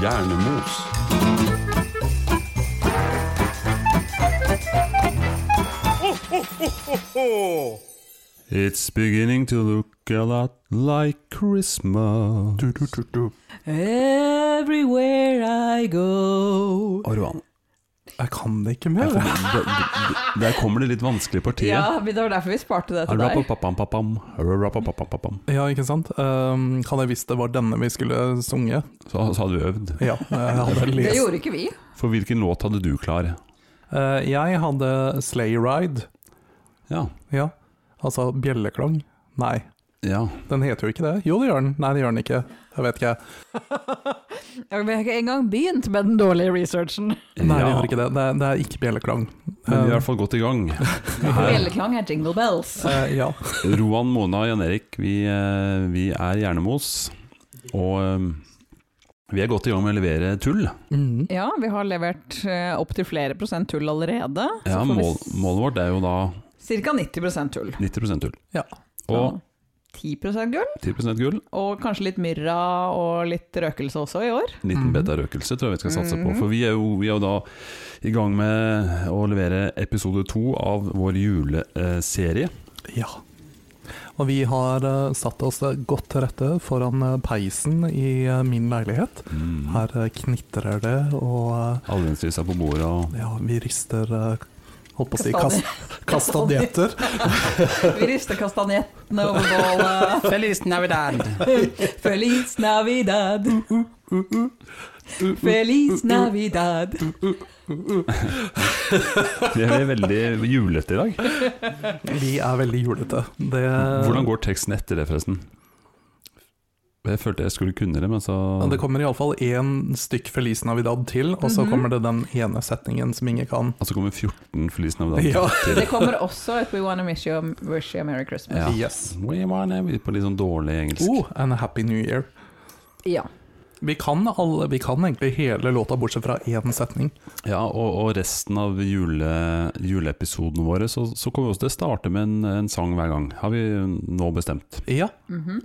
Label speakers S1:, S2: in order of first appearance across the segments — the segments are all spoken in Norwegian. S1: Hjernemos. It's beginning to look a lot like Christmas.
S2: Everywhere I go.
S3: Og Roan, jeg kan det ikke mer.
S1: Der kommer- Der kommer det litt vanskelige partiet.
S2: Ja, men det var derfor vi sparte det til deg.
S1: Rapapapam-papam, rapapapam-papam.
S3: Ja, ikke sant? Um, hadde jeg visst det var denne vi skulle sunge
S1: Så, så hadde du øvd.
S3: Ja, jeg hadde
S2: Det
S3: lest.
S2: gjorde ikke vi.
S1: For hvilken låt hadde du klar?
S3: Uh, jeg hadde Slay Ride.
S1: Ja.
S3: Ja. Altså bjelleklang. Nei,
S1: ja.
S3: den heter jo ikke det. Jo, det gjør den. Nei, det gjør den ikke. Jeg vet ikke.
S2: Ja, men Vi har ikke engang begynt med den dårlige researchen.
S3: Nei,
S1: ja.
S3: det gjør ikke det. Det er, det er ikke bjelleklang.
S1: Men vi er i
S2: Eh.
S3: Um,
S1: hvert fall godt i gang. Her.
S2: Bjelleklang er jingle bells.
S3: eh, ja.
S1: Roan, Mona og Jan Erik, vi, eh, vi er Hjernemos. Og eh, vi er godt i gang med å levere tull.
S3: Mhm.
S2: Ja, vi har levert eh, opp til flere prosent tull allerede.
S1: Ja,
S2: Så får vi
S1: mål, målet vårt er jo da
S2: Ca. 90 tull.
S1: 90 tull.
S3: Ja.
S1: Og
S2: Så 10 gull,
S1: 10 gull.
S2: og kanskje litt myrra og litt røkelse også i år.
S1: 19
S3: Mhm.
S1: beta-røkelse tror jeg vi skal satse på.
S2: Mhm.
S1: For vi er, jo, vi er jo da i gang med å levere episode to av vår juleserie.
S3: ja. Og vi har eh, satt oss eh, godt til rette foran eh, peisen i eh, min leilighet.
S1: Mm.
S3: Her eh, knitrer det, og eh,
S1: Allmennsvis er på bordet og
S3: ja, vi rister eh, Holdt på å si kast, kastanjetter.
S2: Vi rister kastanjettene over bålet.
S4: Feliz Navidad.
S2: Feliz Navidad. Feliz Navidad.
S1: Vi er veldig julete i dag.
S3: Vi er veldig julete. Det,
S1: Hvordan går teksten etter det, forresten? Jeg følte jeg skulle kunne det, men så
S3: Ja, Det kommer iallfall én stykk Feliz Navidad til, og så kommer det den ene setningen som ingen kan.
S1: Og så kommer 14 Feliz Navidad.
S3: Ja.
S2: Det kommer også et We Wanna Miss You, Wish You a Merry Christmas.
S1: Ja.
S3: Yes.
S1: We want it, på litt sånn dårlig engelsk.
S3: Oh, and a happy new year.
S2: Ja.
S3: Vi kan, alle, vi kan egentlig hele låta bortsett fra én setning.
S1: Ja, og, og resten av jule, juleepisodene våre, så, så kommer vi også til å starte med en, en sang hver gang. Har vi nå bestemt.
S3: Ja,
S2: Mhm.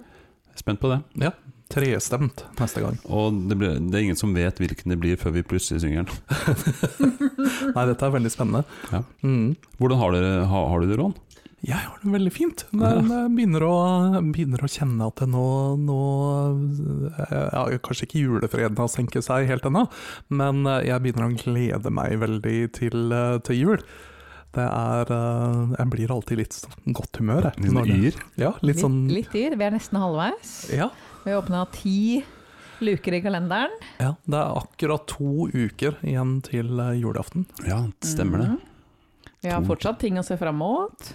S1: Spent på det.
S3: ja. Trestemt neste gang.
S1: Og det, blir, det er ingen som vet hvilken det blir før vi plutselig synger den.
S3: Nei, dette er veldig spennende.
S1: Ja.
S3: Mm.
S1: Hvordan har, dere, har, har du det, Ron?
S3: Jeg har det veldig fint, men jeg begynner å, begynner å kjenne at det nå, nå eh, ja, Kanskje ikke julefreden har senket seg helt ennå, men eh, jeg begynner å glede meg veldig til, eh, til jul. Det er eh, Jeg blir alltid litt sånn godt humør, jeg.
S1: Liten
S3: når det-
S1: yr?
S3: Ja, litt sånn
S2: litt dyr. Vi er nesten halvveis.
S3: Ja.
S2: Vi åpna ti luker i kalenderen.
S3: ja. Det er akkurat to uker igjen til eh, julaften.
S1: Ja, stemmer det.
S2: Mhm. Vi har
S1: To.
S2: fortsatt ting å se fram mot.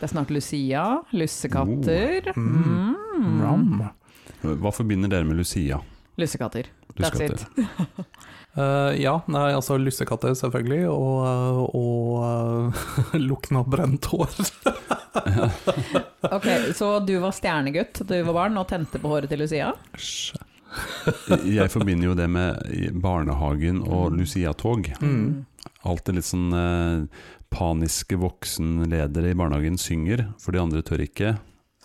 S2: Det er snart Lucia, lussekatter.
S3: Mm.
S2: Mm.
S3: Ram.
S1: Hva forbinder dere med Lucia?
S2: Lussekatter.
S1: Du
S2: That's
S1: skal
S2: it.
S1: til-
S3: Eh, ja, nei, altså lussekatter selvfølgelig, og, eh, og eh, lukten av brent hår.
S2: Ok, Så du var stjernegutt da du var barn og tente på håret til Lucia?
S3: Æsj.
S1: Jeg forbinder jo det med barnehagen og Lucia-tog.
S3: Mm.
S1: Alt det litt sånn eh, paniske voksenledere i barnehagen synger, for de andre tør ikke.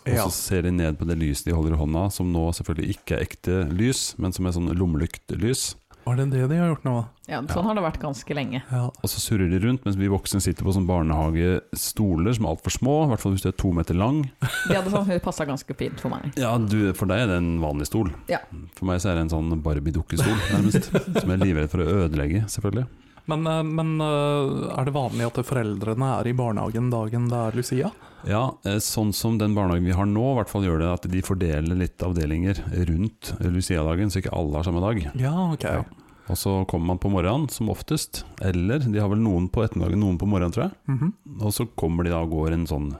S1: Og
S3: Ja.
S1: så ser de ned på det lyset de holder i hånda, som nå selvfølgelig ikke er ekte lys, men som er sånn lommelyktlys.
S3: Var det det de har gjort nå?
S2: Ja, sånn har det vært ganske lenge.
S3: Ja.
S1: Og så surrer de rundt, mens vi voksne sitter på sånn barnehagestoler som er altfor små, i hvert fall hvis du er to meter lang.
S2: De hadde sannsynligvis passa ganske fint for meg.
S1: Ja, du, for deg er det en vanlig stol.
S2: Ja.
S1: For meg så er det en sånn Barbie-dukkestol, nærmest, som jeg er livredd for å ødelegge, selvfølgelig.
S3: Men, eh, men eh, er det vanlig at foreldrene er i barnehagen dagen det er Lucia?
S1: Ja, eh, sånn som den barnehagen vi har nå, i hvert fall gjør det at de fordeler litt avdelinger rundt Lucia-dagen, så ikke alle har samme dag.
S3: Ja, ok.
S1: Ja. Og så kommer man på morgenen, som oftest. Eller de har vel noen på ettermiddagen, noen på morgenen, tror jeg.
S3: Mhm.
S1: Og så kommer de da og går en sånn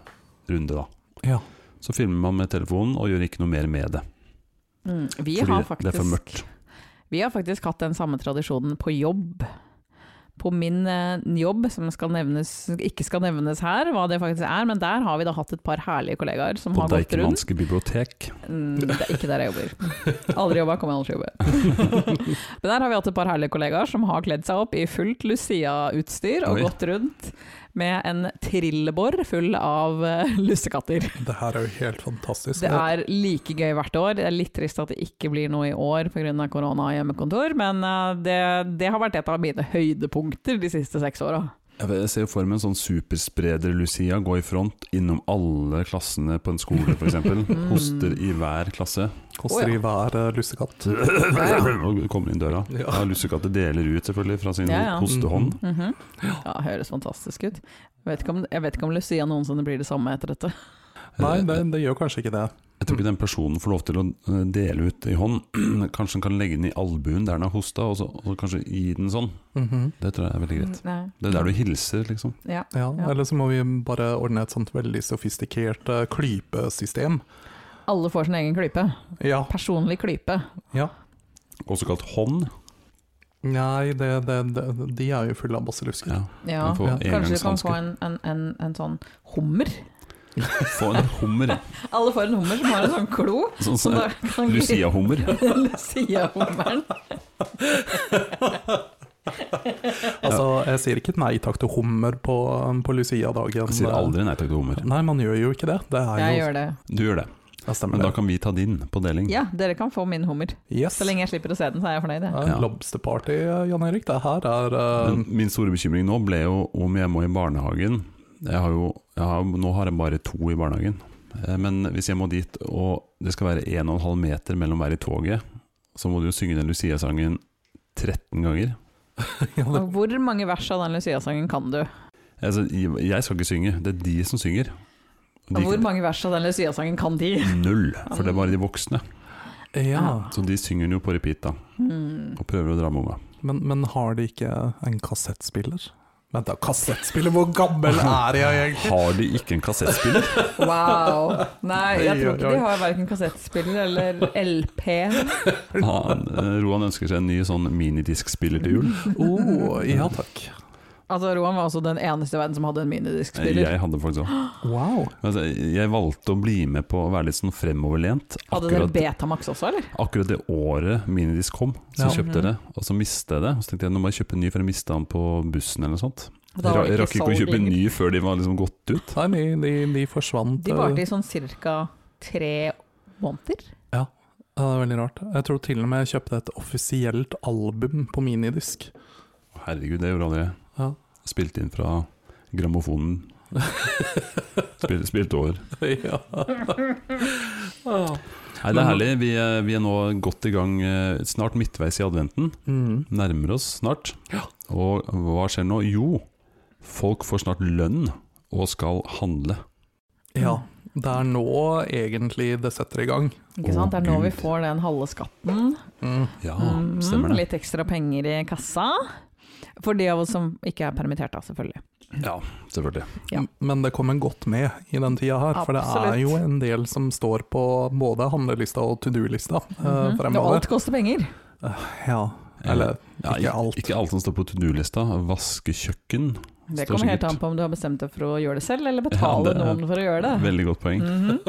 S1: runde, da.
S3: ja.
S1: Så filmer man med telefonen og gjør ikke noe mer med det.
S2: Mm.
S1: fordi
S2: Vi har
S1: det er for
S2: faktisk
S1: mørkt.
S2: Vi har faktisk hatt den samme tradisjonen på jobb. På min eh, jobb, som skal nevnes, ikke skal nevnes her, hva det faktisk er, men der har vi da hatt et par herlige kollegaer som
S1: På
S2: har gått rundt.
S1: Deichmanske bibliotek.
S2: Mm, det er ikke der jeg jobber. Aldri jobba, kommer aldri til å jobbe. Men der har vi hatt et par herlige kollegaer som har kledd seg opp i fullt Lucia-utstyr og
S1: Oi.
S2: gått rundt med en trillebår full av eh, lussekatter.
S3: Det her er jo helt fantastisk.
S2: Det er like gøy hvert år. Det er litt trist at det ikke blir noe i år pga. korona og hjemmekontor, men eh, det, det har vært et av mine høydepunkter de siste seks åra.
S1: Jeg vet- jeg ser jo for meg en sånn superspreder-Lucia gå i front innom alle klassene på en skole f.eks.
S2: Mm.
S1: Hoster i hver klasse.
S3: Koster i hver eh, lussekatt.
S1: Og kommer inn døra.
S3: Ja.
S1: Ja, Lussekatter deler ut selvfølgelig fra sin
S2: Ja, ja.
S1: hostehånd.
S2: Mhm. Ja, høres fantastisk ut. Jeg vet, ikke om, jeg vet ikke om Lucia noensinne blir det samme etter dette.
S3: Nei, det, det gjør kanskje ikke det.
S1: Jeg tror ikke den personen får lov til å eh, dele ut i hånd. Kanskje han kan legge den i albuen der den har hosta, og så, og så kanskje gi den sånn.
S3: Mhm.
S1: Det tror jeg er veldig greit.
S2: Nei.
S1: Det er der du hilser, liksom.
S2: Ja.
S3: ja,
S2: Ja.
S3: Eller så må vi bare ordne et sånt veldig sofistikert eh, klypesystem.
S2: Alle får sin egen klype.
S3: Ja.
S2: Personlig klype.
S3: ja.
S1: Også kalt hånd.
S3: Nei, det, det, det, de er jo fulle av basillusker.
S1: Ja.
S2: Ja.
S1: Kan få
S3: Ja.
S2: Kanskje du kan få
S1: engangshansker.
S2: en, en, en, en sånn hummer?
S1: Få en hummer.
S2: Alle får en hummer som har en sånn klo.
S1: Sånn som
S2: som da kan gripe-
S1: Lucia-hummer.
S2: Lucia-hummeren.
S3: Altså, jeg sier ikke nei takk til hummer på, eh, på Lucia-dagen. eh.
S1: Jeg sier aldri nei takk til hummer.
S3: Nei, man gjør jo ikke det. Det er
S2: Jeg
S3: jo
S2: gjør det.
S1: Du gjør det.
S3: Ja, stemmer
S1: Men da
S3: det.
S1: kan vi ta din på deling.
S2: Ja, dere kan få min hummer.
S3: Yes.
S2: Så lenge jeg slipper å se den, så er jeg fornøyd. jeg.
S3: Ja,
S1: Ja.
S3: Lobsterparty, eh, Jan Erik. Det her er eh,
S1: Men min store bekymring nå ble jo om jeg må i barnehagen. Jeg har jo, jeg har, nå har jeg bare to i barnehagen. Eh, Men hvis jeg må dit, og det skal være 1,5 meter mellom hver i toget, så må du jo synge den Lucia-sangen 13 ganger.
S3: ja, det,
S2: Og Hvor mange vers av den Lucia-sangen kan du?
S1: Altså, jeg skal ikke synge, det er de som synger.
S2: Og Hvor mange Ah. vers av den Lucia-sangen kan de?
S1: Null, for det er bare de voksne.
S3: ja.
S1: Så de synger den jo på repeat, da,
S2: Hmm.
S1: og prøver å dra med unga.
S3: Men, men har de ikke en kassettspiller? Vent da, kassettspiller? Hvor gammel er jeg egentlig?
S1: Har de ikke en kassettspiller?
S2: Wow. Nei, jeg
S3: Oi,
S2: tror
S3: oi,
S2: ikke
S3: oi.
S2: de har verken kassettspiller eller LP.
S1: Han, eh, Roan ønsker seg en ny sånn minidiskspiller til jul.
S3: Oh, ja takk.
S2: Altså, Roan var også den eneste i verden som hadde en minidiskspiller.
S1: Jeg hadde faktisk også.
S3: Wow.
S1: Altså, jeg valgte å bli med på å være litt sånn fremoverlent.
S2: Hadde dere
S1: Akkurat,
S2: Betamax også, eller?
S1: akkurat det året minidisk kom, så
S3: Ja.
S2: Mhm.
S1: kjøpte jeg det. Og så mistet jeg det. Og så tenkte jeg nå må jeg kjøpe en ny, for jeg mista den på bussen eller noe sånt.
S2: Da var
S1: Jeg,
S2: det
S1: jeg rakk ikke å
S2: solgt
S1: kjøpe en
S2: lenger.
S1: ny før de var liksom gått ut.
S3: Nei, de, de, de forsvant. eh,
S2: De varte
S1: eh.
S2: i sånn cirka tre måneder.
S3: Ja, det er veldig rart. Jeg tror til og med jeg kjøpte et offisielt album på minidisk.
S1: Herregud, det gjorde aldri jeg.
S3: Ja.
S1: Spilte inn fra grammofonen. Spilte, spilte over.
S3: ja.
S1: Nei, det er herlig. Vi er, vi er nå godt i gang, eh, snart midtveis i adventen.
S3: Mm.
S1: nærmer oss snart. Og hva skjer nå? Jo, folk får snart lønn og skal handle.
S3: ja.
S2: Mm.
S3: Det er nå egentlig det setter i gang.
S2: Ikke
S1: Å,
S2: sant? Det er nå vi
S1: Gud.
S2: får den halve skatten.
S3: Mm.
S1: Ja,
S2: Mhm,
S1: stemmer det.
S2: Litt ekstra penger i kassa. For de av oss som ikke er permittert, da, selvfølgelig.
S1: Ja, selvfølgelig.
S2: Ja.
S3: M- Men det kommer godt med i den tida her, for det er
S2: Absolutt.
S3: jo en del som står på både handlelista og to do-lista eh,
S2: Mhm. Og
S3: fremover.
S2: alt koster penger.
S3: Ja, eller
S1: Ja,
S3: ikke alt.
S1: Ikke alt som står på to do-lista. Vaske kjøkken.
S2: Det
S1: Står
S2: kommer helt
S1: sikkert.
S2: an på om du har bestemt deg for å gjøre det selv, eller betale
S1: Ja, det er-
S2: noen for å gjøre det.
S1: Veldig godt poeng.
S2: Mhm.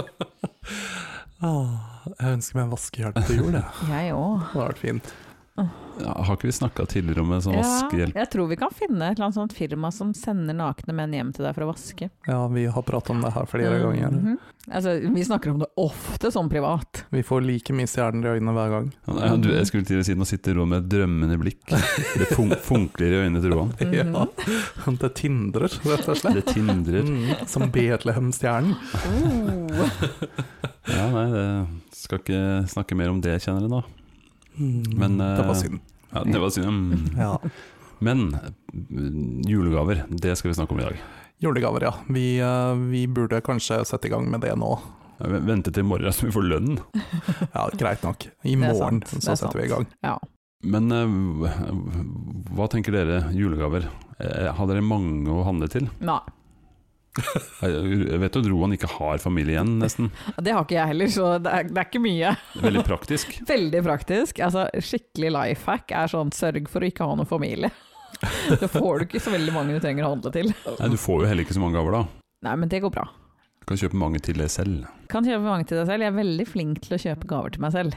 S3: Ah, jeg ønsker meg en vaskehjelp til jul, jeg. det.
S2: Jeg òg.
S3: hadde vært fint.
S1: Ja, har ikke vi snakka tidligere om en sånn
S2: Ja,
S1: vaskehjelp?
S2: jeg tror vi kan finne et eller annet sånt firma som sender nakne menn hjem til deg for å vaske.
S3: Ja, vi har pratet om det her flere ganger.
S2: Mhm. altså, vi snakker om det ofte som privat.
S3: Vi får like mye stjerner i øynene hver gang.
S1: Ja, du, jeg skulle til å si nå sitter Roan med et drømmende blikk. Det fun funkler i øynene til Roan.
S2: Mhm.
S3: Ja, det tindrer, rett og slett.
S1: Det tindrer.
S3: Mm, som Betlehem-stjernen.
S1: Ja, nei, det skal ikke snakke mer om det, kjenner jeg nå.
S3: Mm,
S1: Men, eh,
S3: det var synd.
S1: Ja, det var synd. Mm.
S3: Ja.
S1: Men eh, julegaver, det skal vi snakke om i dag.
S3: Julegaver, ja. Vi, eh, vi burde kanskje sette i gang med det nå.
S1: Ja, v- Vente til i morgen så vi får lønn.
S3: Ja, greit nok. I
S2: er
S3: morgen
S2: sant, det
S3: så
S2: er
S3: setter vi i gang.
S2: Ja.
S1: Men eh, hva- hva tenker dere julegaver? Eh, Har dere mange å handle til? Eh,
S2: Nei.
S1: Jeg jeg vet jo at Roan ikke har familie igjen, nesten.
S2: Det har ikke jeg heller, så det er, det er ikke mye.
S1: Veldig praktisk.
S2: Veldig praktisk. Altså, skikkelig life hack er sånn sørg for å ikke ha noen familie. Da får du ikke så veldig mange du trenger å handle til.
S1: Nei, Du får jo heller ikke så mange gaver, da.
S2: Nei, men det går bra.
S1: Du kan kjøpe mange til deg selv.
S2: Kan kjøpe mange til deg selv. Jeg er veldig flink til å kjøpe gaver til meg selv.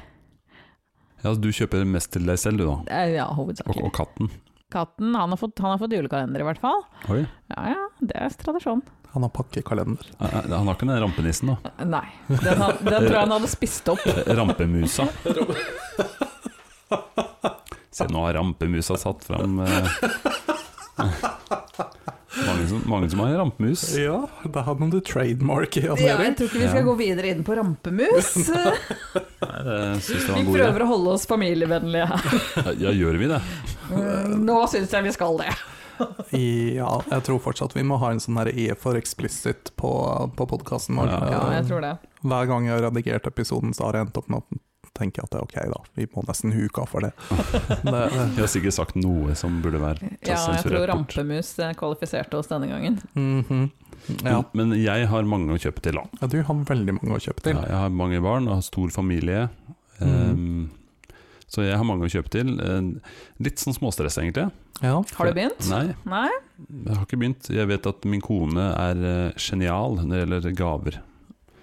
S1: Ja, Du altså, kjøper mest til deg selv, du da.
S2: Eh, Ja,
S1: Og,
S2: hovedsakelig.
S1: og katten.
S2: Katten han har, fått, han har fått julekalender, i hvert fall.
S1: Oi.
S2: Ja ja, det er tradisjon.
S3: Han har pakkekalender.
S1: Eh, eh, Han har ikke den rampenissen, da.
S2: Nei, den, han, den tror jeg han hadde spist opp.
S1: Eh, Rampemusa. Se, nå har rampemusa satt fram eh. mange, som, mange som har rampemus.
S3: Ja, det har noen du trademark i, Jan
S2: Ja, jeg
S3: Erik.
S2: tror ikke vi skal
S1: Ja.
S2: gå videre inn på rampemus.
S1: Nei, det syns jeg var
S2: Vi
S1: en god idé.
S2: prøver å holde oss familievennlige her.
S1: Ja, Ja, gjør vi det?
S2: Mm, Nå syns jeg vi skal det.
S3: Ja, jeg tror fortsatt vi må ha en sånn her E for explicit på, på podkasten vår.
S1: Ja.
S2: Ja, jeg tror det.
S3: Hver gang jeg har redigert episoden, så har jeg endt opp med å tenke at det er ok, da. Vi må nesten huke av for det. det
S1: Vi har sikkert sagt noe som burde være
S2: Ja, jeg tror
S1: sensurert bort.
S2: rampemus eh, kvalifiserte oss denne gangen.
S3: mhm. ja.
S1: Men jeg har mange å kjøpe til. da.
S3: ja, du har veldig mange å kjøpe til.
S1: Ja, jeg har mange barn og har stor familie.
S3: Mhm.
S1: Eh, så jeg har mange å kjøpe til. Eh, litt sånn småstress, egentlig.
S3: Ja.
S2: Har du begynt?
S1: Nei,
S2: Nei?
S1: jeg har ikke begynt. Jeg vet at min kone er eh, genial når det gjelder gaver.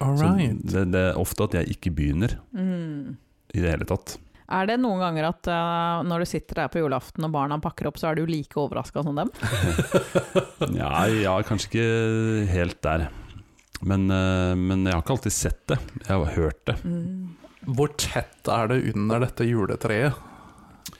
S3: All
S1: Så
S3: right.
S1: det, det er ofte at jeg ikke begynner
S2: Mm.
S1: i det hele tatt.
S2: Er det noen ganger at eh, når du sitter der på julaften og barna pakker opp, så er du like overraska som dem?
S1: Ja, ja, kanskje ikke helt der. Men, eh, men jeg har ikke alltid sett det. Jeg har hørt det.
S3: Hvor tett er det under dette juletreet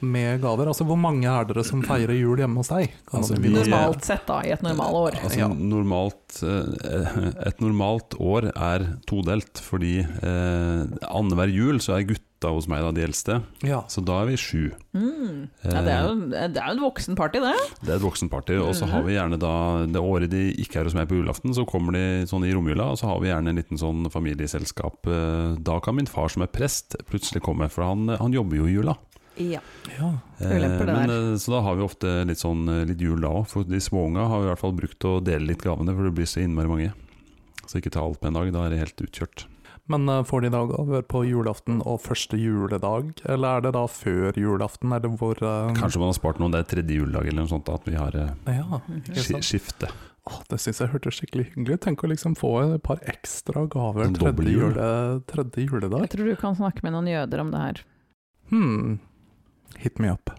S3: med gaver? Altså, hvor mange er dere som feirer jul hjemme hos deg? Kan
S1: Altså,
S3: man
S1: vi-
S3: begynne å
S2: Normalt sett, da, i et normalår.
S1: Altså,
S3: Ja.
S1: normalt, eh, et normalt år er todelt, fordi eh, annenhver jul så er gutta hos meg da de eldste,
S3: spørre? Ja.
S1: så da er vi sju.
S2: Mm. Ja, det er
S1: Eh.
S2: jo det er jo et voksenparty, det.
S1: Det er et voksenparty, og så
S2: Mhm.
S1: har vi gjerne da det året de ikke er hos meg på julaften, så kommer de sånn i romjula, og så har vi gjerne en liten sånn familieselskap. Eh, Da kan min far som er prest plutselig komme, for han, han jobber jo i jula.
S2: Ja.
S3: ja.
S2: Ulemper, det
S1: men,
S2: der.
S1: eh, så da har vi ofte litt sånn eh, litt jul da òg, for de småunga har vi i hvert fall brukt å dele litt gavene, for det blir så innmari mange. Så ikke ta alt på en dag, da er det helt utkjørt.
S3: Men eh, får de da gaver på julaften og første juledag, eller er det da før julaften, eller hvor eh,
S1: Kanskje man har spart noen, det er tredje juledag eller noe sånt, da, at vi har eh,
S3: Ja,
S2: Mhm.
S3: ikke
S1: sk-
S3: sant?
S1: skifte.
S3: Åh, det syns jeg hørtes skikkelig hyggelig ut. Tenk å liksom få et par ekstra gaver
S1: En dobbel
S3: tredje,
S1: jul.
S3: jule, tredje
S2: Jeg
S3: juledag.
S2: tror du kan snakke med noen jøder om det her.
S3: Hmm. Hit me up.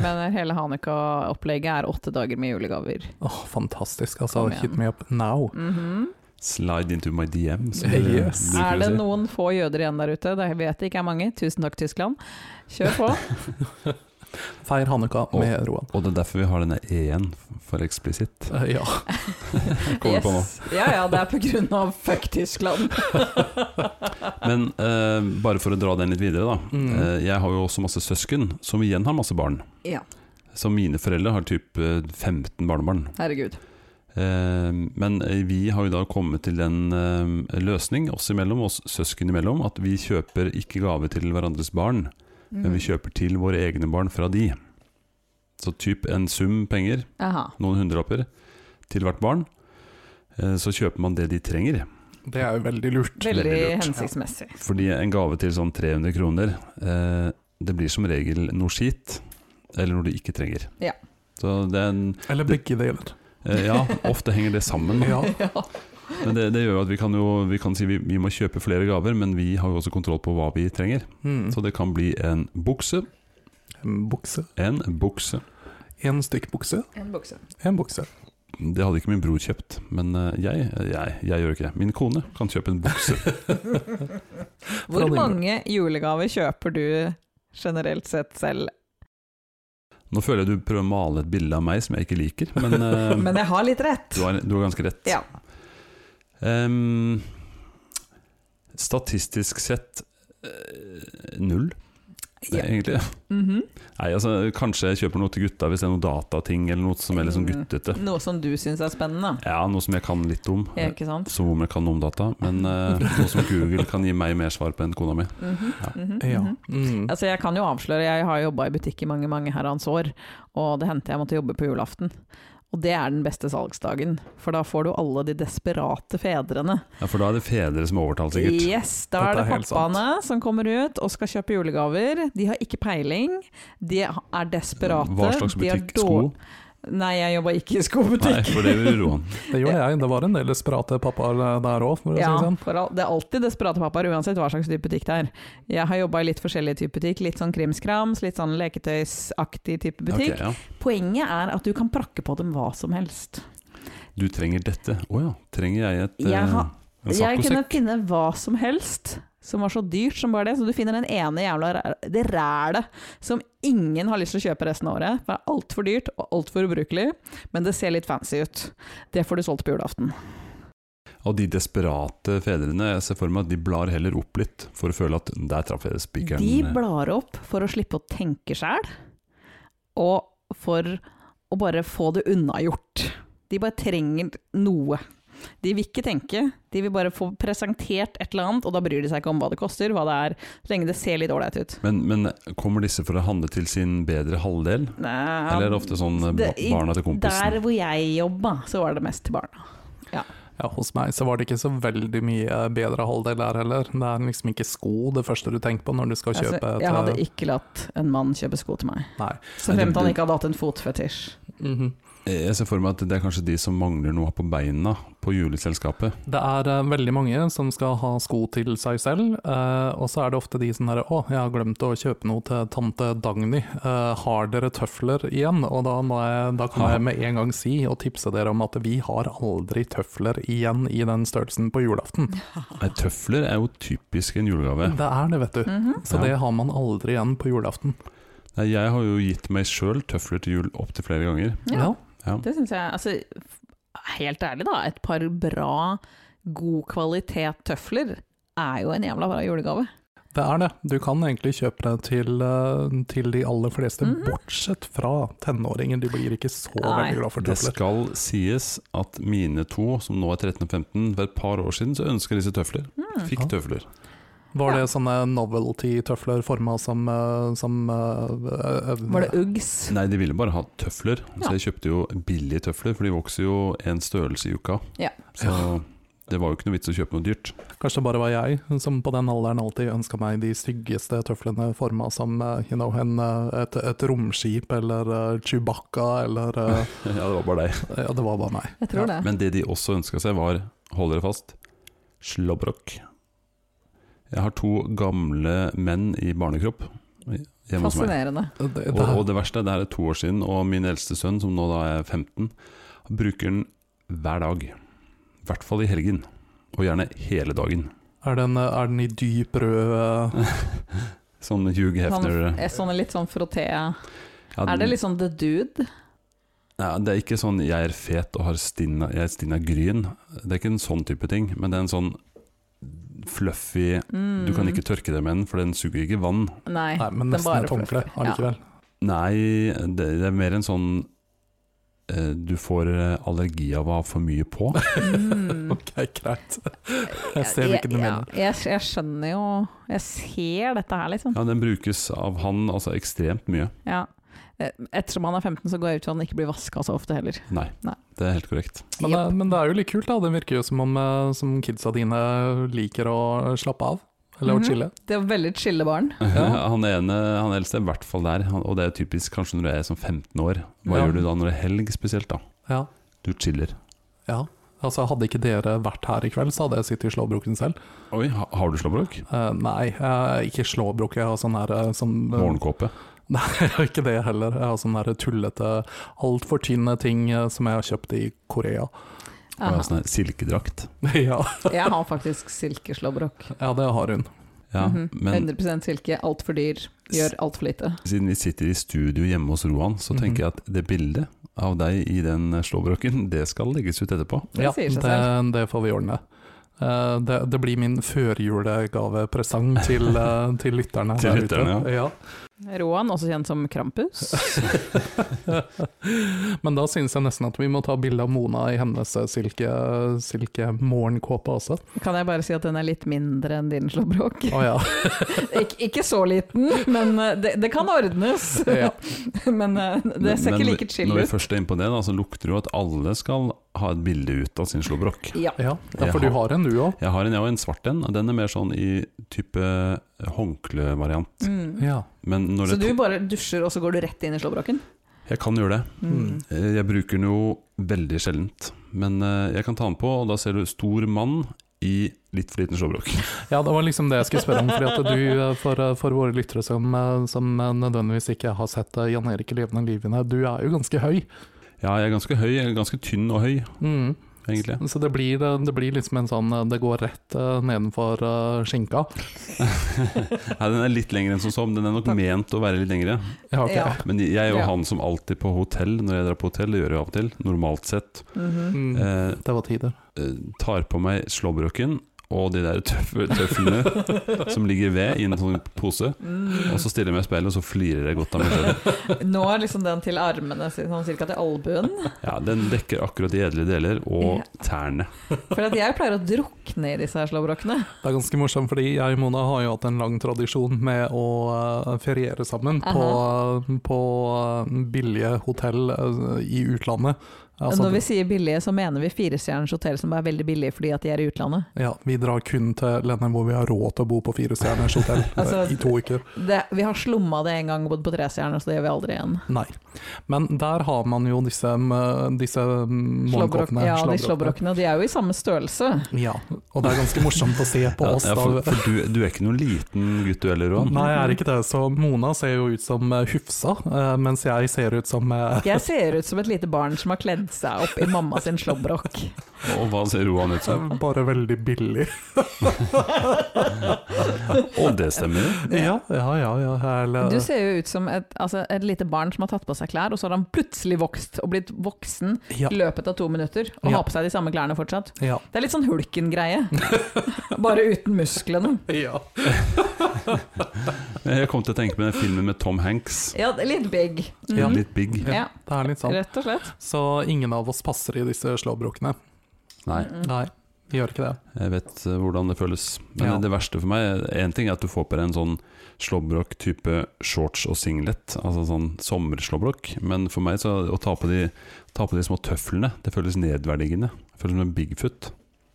S2: Men hele Hanukka-opplegget er åtte dager med julegaver.
S3: Åh, fantastisk, altså.
S2: Kom igjen.
S3: Hit me up now.
S2: Mhm.
S1: Slide into my DM. som dere
S3: Yes.
S1: bruker å
S2: Er det
S1: si.
S2: noen få jøder igjen der ute? Det vet jeg ikke er mange. Tusen takk, Tyskland. Kjør på.
S3: Feir Hanukka med Roan.
S1: Og det er derfor vi har denne E-en for eksplisitt.
S3: Eh, ja.
S1: Kommer på nå.
S2: Ja ja, det er på grunn av fuck Tyskland.
S1: Men eh, bare for å dra den litt videre, da.
S3: Mm.
S1: Eh, jeg har jo også masse søsken, som igjen har masse barn.
S2: Ja,
S1: Så mine foreldre har typ eh, 15 barnebarn.
S2: herregud.
S1: Eh, Men eh, vi har jo da kommet til den eh, løsning oss imellom, oss søsken imellom, at vi kjøper ikke gave til hverandres barn, men vi kjøper til våre egne barn fra de. Så typ en sum penger,
S2: Aha.
S1: noen hundrelapper, til hvert barn. eh, Så kjøper man det de trenger.
S3: Det er jo veldig lurt.
S2: Veldig
S1: Veldig lurt.
S2: hensiktsmessig.
S1: Fordi en gave til sånn 300 kroner, eh, det blir som regel noe skit, eller noe du ikke trenger.
S2: Ja.
S1: Så det er en,
S3: Eller begge deler.
S1: eh, ja, ofte henger det sammen. da.
S3: Ja.
S2: Ja.
S1: Men det, det gjør jo at vi kan jo vi kan si vi, vi må kjøpe flere gaver, men vi har jo også kontroll på hva vi trenger.
S3: Mm.
S1: Så det kan bli en bukse,
S3: En bukse.
S1: en bukse.
S3: En stykk bukse.
S2: En bukse.
S3: En bukse.
S1: Det hadde ikke min bror kjøpt, men eh, jeg, jeg, jeg gjør ikke det. Min kone kan kjøpe en bukse.
S2: Hvor
S3: din-
S2: mange julegaver kjøper du generelt sett selv?
S1: Nå føler jeg du prøver å male et bilde av meg som jeg ikke liker, men, eh,
S2: Men jeg har litt rett.
S1: du, har, du har ganske rett.
S2: Ja.
S1: Em, statistisk sett eh, null,
S2: Ja.
S1: egentlig.
S2: Mhm.
S1: Nei, altså, kanskje jeg kjøper noe til gutta hvis det er noe datating eller noe som er litt sånn
S2: Mm.
S1: guttete.
S2: Noe som du syns er spennende,
S1: Ja, noe som jeg kan litt om.
S2: ja, ikke sant?
S1: Som om jeg kan om data, men eh, noe som Google kan gi meg mer svar på enn kona mi.
S2: Mhm,
S1: Ja.
S2: mhm,
S3: Ja.
S2: mhm.
S3: Mm.
S2: Altså Jeg kan jo avsløre, jeg har jobba i butikk i mange mange herrens år, og det hendte jeg måtte jobbe på julaften. Og det er den beste salgsdagen, for da får du alle de desperate fedrene.
S1: Ja, For da er det fedre som har overtalt, sikkert.
S2: Yes, da er
S3: Dette
S2: det
S3: er helt
S2: pappaene som kommer ut og skal kjøpe julegaver. De har ikke peiling, de er desperate.
S1: Hva slags
S2: de har
S1: butikk?
S2: dår-
S1: Sko?
S2: Nei, jeg jobba ikke i
S1: Nei,
S2: skobutikk.
S1: for det vil roe han.
S3: Det gjorde jeg. Det var en del desperate pappaer eh, der òg, for å si
S2: Ja,
S3: det sånn.
S2: for all, det er alltid desperate pappaer, uansett hva slags type butikk det er. Jeg har jobba i litt forskjellig type butikk, litt sånn krimskrams, litt sånn leketøysaktig type butikk.
S1: Ok, ja.
S2: Poenget er at du kan prakke på dem hva som helst.
S1: Du trenger dette. Å ja, trenger jeg et
S2: Jeg
S1: eh,
S2: har-
S1: en
S2: Jeg kunne
S1: saccosekk?
S2: finne hva som helst som var så dyrt som bare det. Så du finner den ene jævla ræ- det rælet som ingen har lyst til å kjøpe resten av året. For det er altfor dyrt og altfor ubrukelig, men det ser litt fancy ut. Det får du solgt på julaften.
S1: Og de desperate fedrene, jeg ser for meg at de blar heller opp litt, for å føle at der traff jeg spikeren.
S2: De blar opp for å slippe å tenke sjæl, og for å bare få det unnagjort. De bare trenger noe. De vil ikke tenke, de vil bare få presentert et eller annet, og da bryr de seg ikke om hva det koster, hva det er, så lenge det ser litt ålreit ut.
S1: Men, men kommer disse for å handle til sin bedre halvdel?
S2: Nei,
S1: Eller er det ofte sånn eh, ba
S2: det- i-
S1: barna til kompisen?
S2: Der hvor jeg jobba, så var det mest til barna.
S3: Ja, hos meg så var det ikke så veldig mye bedre halvdel der heller. Det er liksom ikke sko det første du tenker på når du skal kjøpe
S2: Altså,
S3: et
S2: jeg hadde
S3: eh,
S2: ikke latt en mann kjøpe sko til meg.
S3: Nei.
S2: Så
S1: Nei,
S2: fremt
S1: det-
S2: han ikke hadde hatt en fotfetisj.
S3: Mhm.
S1: Jeg ser for meg at det er kanskje de som mangler noe på beina på juleselskapet.
S3: Det er eh, veldig mange som skal ha sko til seg selv, eh, og så er det ofte de som er Å, jeg har glemt å kjøpe noe til tante Dagny. Eh, har dere tøfler igjen? Og da, må jeg, da kan jeg med en gang si og tipse dere om at vi har aldri tøfler igjen i den størrelsen på julaften.
S1: Nei, tøfler er jo typisk en julegave.
S3: Det er det, vet du.
S2: Mhm.
S3: Så
S1: Ja.
S3: det har man aldri igjen på julaften.
S1: Nei, jeg har jo gitt meg sjøl tøfler til jul opptil flere ganger.
S2: Ja.
S3: Ja.
S1: Ja.
S2: Det syns jeg Altså, helt ærlig, da. Et par bra, god kvalitet tøfler er jo en jævla bra julegave.
S3: Det er det. Du kan egentlig kjøpe det til, eh, til de aller fleste,
S2: Mhm.
S3: bortsett fra tenåringer. De blir ikke så
S2: Nei.
S3: veldig glad for
S1: Det
S3: tøfler.
S1: skal sies at mine to, som nå er 13 og 15, for et par år siden så ønska disse tøfler.
S2: Mm.
S1: Fikk tøfler.
S3: Var det sånne novelty-tøfler forma som, eh, som eh, eh,
S2: Var det Uggs?
S1: Nei, de ville bare ha tøfler,
S2: Ja.
S1: så jeg kjøpte jo billige tøfler, for de vokser jo en størrelse i uka.
S2: Ja.
S1: Så det var jo ikke noe vits å kjøpe noe dyrt.
S3: Kanskje det bare var jeg som på den alderen alltid ønska meg de styggeste tøflene forma som eh, you know, en, eh, et, et romskip eller eh, Chewbacca eller eh,
S1: ja, det var bare deg.
S3: Ja, det var bare meg.
S2: Jeg tror det.
S1: Men det de også ønska seg, var, hold dere fast, slåbrok. Jeg har to gamle menn i barnekropp hjemme hos meg.
S2: Fascinerende.
S3: Det, det,
S1: Og, og det verste, det her er to år siden, og min eldste sønn, som nå da er 15, han bruker den hver dag. I hvert fall i helgen, og gjerne hele dagen.
S3: er, den, eh, er den i dyp rød eh,
S1: Sånn Hugh Hefner
S2: Sånn, er sånne litt sånn frotté
S1: ja,
S2: Er det litt sånn The Dude?
S1: ja, det er ikke sånn 'jeg er fet og har stinna, jeg er stinna gryn'. Det er ikke en sånn type ting, men det er en sånn fluffy Du
S2: Mm.
S1: kan ikke tørke deg med den, for den suger ikke vann.
S2: Hmm. Nei.
S3: Nei, men
S2: den
S3: nesten
S2: bare
S3: et håndkle
S2: fluffy. Ja.
S3: allikevel.
S1: Nei, det, det er mer en sånn eh, Du får eh, allergi av å ha for mye på.
S2: Mm.
S3: Ok, greit. Jeg ser hvilken du
S2: Jeg-
S3: mener.
S2: ja, Jeg, jeg skjønner jo Jeg ser dette her, liksom.
S1: Ja, Den brukes av han altså ekstremt mye.
S2: Ja. Eh, Ettersom han er 15, så går jeg ut fra at han ikke blir vaska så ofte heller.
S1: Nei,
S2: Nei.
S1: det er helt korrekt.
S3: Men, det- men det er jo litt kult, da. Det virker jo som om eh, som kidsa dine liker å slappe av. Eller
S2: Mhm.
S3: å chille.
S2: Det er veldig chille barn.
S3: Ja.
S1: han ene, han eldste er i hvert fall der, han, og det er typisk kanskje når du er sånn 15 år. Hva
S3: Ja.
S1: gjør du da når det er helg spesielt? da?
S3: Ja.
S1: Du chiller.
S3: ja. Altså, hadde ikke dere vært her i kveld, så hadde jeg sittet i slåbroken selv.
S1: Oi, ha, har du slåbrok?
S3: Eh, nei, jeg har ikke slåbrok. Jeg har sånn her eh, som
S1: Morgenkåpe.
S3: Jeg har ikke det heller. Jeg har sånn her tullete, altfor tynne ting eh, som jeg har kjøpt i Korea.
S1: Og jeg har
S2: Aha.
S1: sånn her silkedrakt.
S3: ja.
S1: sånn-
S2: Jeg har faktisk silkeslåbrok.
S3: ja, det har hun.
S1: Ja,
S2: Mhm.
S1: Men
S2: 100 silke, altfor dyr, gjør altfor lite.
S1: siden vi sitter i studio hjemme hos Roan, så
S3: Mhm.
S1: tenker jeg at det bildet av deg i den eh, slåbroken, det skal legges ut etterpå.
S2: Det
S3: ja,
S2: sier seg
S3: det, det får vi ordne. Eh, det, det blir min førjulegavepresang til, eh, til lytterne.
S1: Til
S3: der ute.
S1: lytterne,
S3: ja.
S2: Roan, også kjent som Krampus.
S3: Men da syns jeg nesten at vi må ta bilde av Mona i hennes eh, silke, silke morgenkåpe også.
S2: Kan jeg bare si at den er litt mindre enn din slåbrok?
S3: Å ja.
S2: Ik ikke så liten, men eh, det, det kan ordnes.
S3: ja.
S2: Men eh, det ser
S1: Men-
S2: ikke
S1: men
S2: like chill
S1: Når vi
S2: ut.
S1: først er inne på det, da, så lukter det jo at alle skal ha et bilde ut av sin slåbrok.
S2: Ja.
S3: ja. ja, for du har en du òg.
S1: Jeg har en, jeg har en svart en, og den er mer sånn i type eh, håndklevariant.
S2: Mm.
S3: Ja.
S1: Men når
S2: Så
S1: det
S2: du bare dusjer, og så går du rett inn i slåbroken?
S1: Jeg kan gjøre det.
S2: Mm.
S1: Eh, Jeg bruker den jo veldig sjeldent. Men eh, jeg kan ta den på, og da ser du stor mann i litt for liten slåbrok.
S3: Ja, det var liksom det jeg skulle spørre om. Fordi at du, eh, for, eh, for våre lyttere som, eh, som eh, nødvendigvis ikke har sett eh, Jan Erik i Levende livene, du er jo ganske høy.
S1: Ja, jeg er ganske høy. Jeg er ganske tynn og høy,
S3: Mm.
S1: egentlig.
S3: Så det blir, eh, det blir liksom en sånn eh, Det går rett eh, nedenfor eh, skinka.
S1: Nei, den er litt lengre enn som så, men den er nok ment å være litt lengre.
S3: Ja, ok.
S2: Ja.
S1: Men jeg er jo
S2: Ja.
S1: han som alltid på hotell, når jeg drar på hotell, det gjør jeg av og til, normalt sett,
S2: Mhm.
S3: Mm.
S1: eh,
S3: Det var tider.
S1: eh, tar på meg slåbroken og de der tøffe tøflene som ligger ved i en sånn pose,
S2: Mm.
S1: og så stiller jeg meg i speilet, og så flirer jeg godt av meg selv.
S2: Nå er liksom den til armene, sånn cirka til albuen.
S1: Ja, den dekker akkurat de edle deler, og tærne.
S2: For at jeg pleier å drukne i disse her slåbrokene.
S3: Det er ganske morsomt, fordi jeg og Mona har jo hatt en lang tradisjon med å eh, feriere sammen på, på eh, billige hotell eh, i utlandet.
S1: sånn,
S3: Altså,
S2: Når vi sier billige, så mener vi firestjerners hotell som er veldig billige fordi at de er i utlandet.
S3: ja, vi drar kun til landet hvor vi har råd til å bo på firestjerners hotell eh,
S2: Altså-
S3: i to uker.
S2: Det, vi har slumma det en gang og bodd på trestjerner, så det gjør vi aldri igjen.
S3: Nei. Men der har man jo disse, eh, disse
S2: Slåbrok,
S3: morgenkoppene.
S2: ja, de
S3: slåbrokene.
S2: slåbrokene. De er jo i samme størrelse.
S3: Ja, og det er ganske morsomt å se på
S1: Ja,
S3: oss.
S1: ja,
S3: da.
S1: for for du, du er ikke noen liten gutt du heller, Roan.
S3: Nei, jeg er ikke det. Så Mona ser jo ut som eh, Hufsa, eh, mens jeg ser ut som eh,
S2: Jeg ser ut som et lite barn som har kledd seg opp i mamma sin slåbrok.
S1: Og hva ser Roan ut som?
S3: bare veldig billig.
S1: Og det stemmer jo.
S3: Ja, ja, ja. ja eller,
S2: Du ser jo ut som et, altså, et lite barn som har tatt på seg klær, og så har han plutselig vokst og blitt voksen
S3: ja,
S2: i løpet av to minutter, og
S3: Ja.
S2: har på seg de samme klærne fortsatt.
S3: ja.
S2: Det er litt sånn hulken-greie, bare uten musklene.
S3: ja.
S1: Jeg kom til å tenke på den filmen med Tom Hanks.
S2: Ja, det er litt big. Mhm.
S1: Ja. Litt big.
S2: Ja,
S3: Det er litt sånn.
S2: rett og slett.
S3: Så ingen av oss passer i disse slåbrokene.
S1: Nei,
S2: Mm.
S3: Nei, vi gjør ikke det.
S1: jeg vet eh, hvordan det føles. Men
S3: Ja.
S1: det verste for meg En ting er at du får på deg en sånn slåbrok type shorts og singlet, altså sånn sommerslåbrok. Men for meg, så å ta på de, ta på de små tøflene, det føles nedverdigende. Det føles som en bigfoot.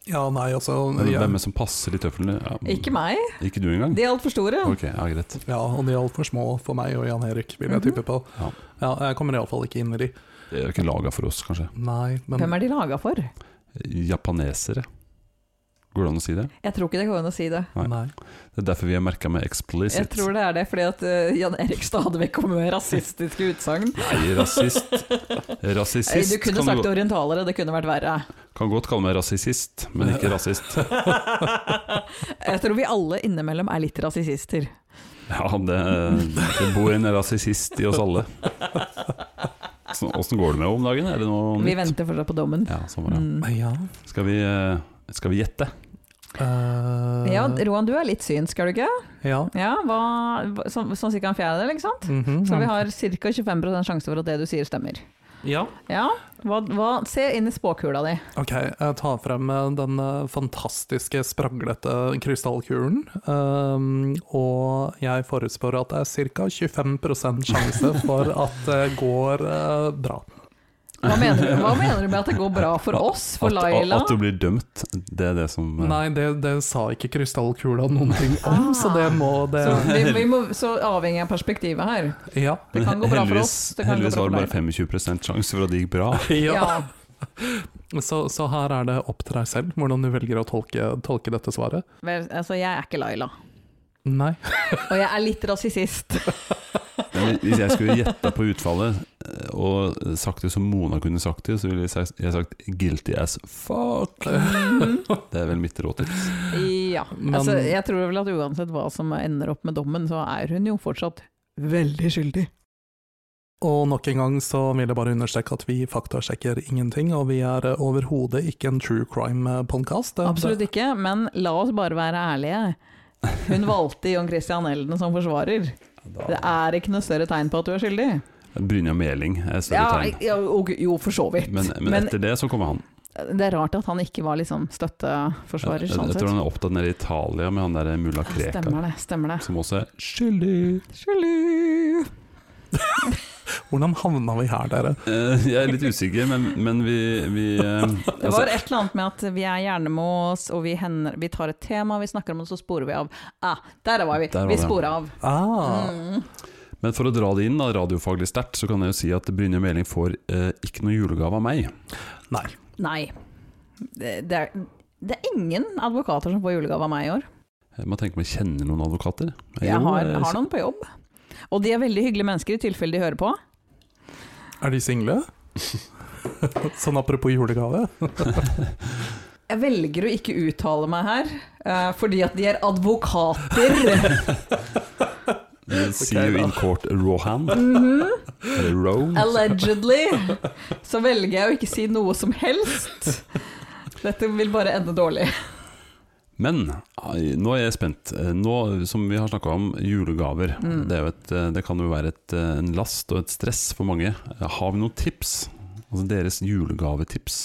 S3: Ja, nei, altså
S1: Men
S3: jeg-
S1: Hvem er det som passer de tøflene? Ja,
S2: Ikke meg,
S1: Ikke du engang?
S2: de er altfor store.
S1: Ok, ja, greit.
S3: Ja, og de er altfor små for meg og Jan Erik, vil jeg tippe på.
S1: Ja.
S3: Ja, jeg kommer iallfall ikke inn i de.
S1: Det er jo ikke laga for oss, kanskje.
S3: Nei,
S2: Hvem
S3: men
S2: er de laga for?
S1: Japanesere. Går det an å si det?
S2: Jeg tror ikke det går an å si det.
S1: Nei.
S3: Nei.
S1: Det er derfor vi er merka med
S2: Jeg
S1: 'explicit'.
S2: tror det er det, fordi at eh, Jan Erik stadig vekk kommer med rasistiske utsagn. Eh,
S1: Nei, rasist. Rasisist
S2: Du kunne
S1: kan
S2: sagt
S1: du
S2: orientalere, det kunne vært verre.
S1: Kan godt kalle meg rasist, men ikke rasist.
S2: Jeg tror vi alle innimellom er litt rasisister.
S1: Ja, det, det bor en rasist i oss alle. Så, Åssen går det med om dagen? Er det noe
S2: Vi
S1: nytt?
S2: venter fortsatt på dommen.
S1: Ja, sånn var det.
S2: Mm.
S3: Ja.
S1: Skal vi, eh, skal vi gjette?
S3: eh,
S2: Ja, Roan, du er litt synsk, er du ikke?
S3: ja.
S2: Ja, hva, hva- sånn sånn ca. en fjerdedel, ikke sant?
S3: Mhm.
S2: Så vi har ca. 25 sjanse for at det du sier, stemmer.
S3: ja.
S2: Ja, hva, hva, se inn i spåkula di.
S3: Ok, jeg tar frem eh, den eh, fantastiske spraglete krystallkulen. ehm, og jeg forutspår at det er ca. 25 sjanse for at det går eh, bra.
S2: Hva mener, du, hva mener du med at det går bra for oss, for
S1: at,
S2: Laila?
S1: At du blir dømt, det er det som eh,
S3: Nei, det, det sa ikke krystallkula noen ting om, så det må det
S2: Ah. Så, vi, vi må, så avhengig av perspektivet her.
S3: Ja.
S2: Det kan
S1: Men
S2: gå bra for
S1: heldigvis-
S2: oss, det kan gå
S1: Heldigvis
S2: bra
S1: var det bare
S2: for
S1: 25 sjanse for at det gikk bra.
S3: ja.
S2: Ja.
S3: Så, så her er det opp til deg selv hvordan du velger å tolke, tolke dette svaret.
S2: Vel, altså, jeg er ikke Laila.
S3: Nei.
S2: Og jeg er litt rasist.
S1: Men Hvis jeg skulle gjette på utfallet eh, og sagt det som Mona kunne sagt det, så ville jeg sagt, jeg sagt 'guilty as fuck'. Det er vel mitt råd til
S2: Ja.
S3: Men-
S2: Altså, jeg tror vel at uansett hva som ender opp med dommen, så er hun jo fortsatt veldig skyldig.
S3: Og nok en gang så vil jeg bare understreke at vi faktasjekker ingenting, og vi er eh, overhodet ikke en true crime-podkast.
S2: Absolutt ikke, men la oss bare være ærlige. Hun valgte John Christian Elden som forsvarer. Det er ikke noe større tegn på at du er skyldig.
S1: Brynja Meling er et større
S2: Ja,
S1: tegn.
S2: ja, og- jo, for så vidt.
S1: Men, men,
S2: Men
S1: etter det så kommer han.
S2: det er rart at han ikke var liksom
S1: Jeg,
S2: støtteforsvarer,
S1: jeg,
S2: sånn
S1: jeg
S2: sett.
S1: tror han er opptatt nede i Italia med han der eh, mulla
S2: Ja,
S1: Krekar,
S2: Stemmer det, stemmer det.
S1: som også er skyldig.
S2: Skyldig!
S3: Hvordan havna vi her, dere?
S1: Eh, Jeg er litt usikker, men, men vi, vi eh,
S2: Det
S1: altså,
S2: var et eller annet med at vi er hjernemås, og vi, hender, vi tar et tema, vi snakker om det, så sporer vi av. Ah, der var vi.
S1: Der var
S2: vi
S1: det.
S2: sporer av.
S3: Ah,
S2: Mm.
S1: Men for å dra det inn da, radiofaglig sterkt, så kan jeg jo si at Brynje Meling får eh, ikke noe julegave av meg.
S3: Nei.
S2: Nei. Det, det, er, det er ingen advokater som får julegave av meg i år.
S1: Jeg må tenke meg, kjenner noen advokater?
S2: Jeg har,
S1: eh,
S2: har noen på jobb. Og de er veldig hyggelige mennesker, i tilfelle de hører på.
S3: Er de single? sånn apropos julegave.
S2: Jeg velger å ikke uttale meg her, eh, fordi at de er advokater.
S1: See you in court, Rohan. Eller Roe.
S2: Mhm. Allegedly. Så velger jeg å ikke si noe som helst. Dette vil bare ende dårlig.
S1: Men ai, nå er jeg spent. Eh, Nå som vi har snakka om, julegaver.
S2: Mm.
S1: Det, er jo et, eh, det kan jo være et, eh, en last og et stress for mange. Eh, Har vi noen tips? Altså deres julegavetips?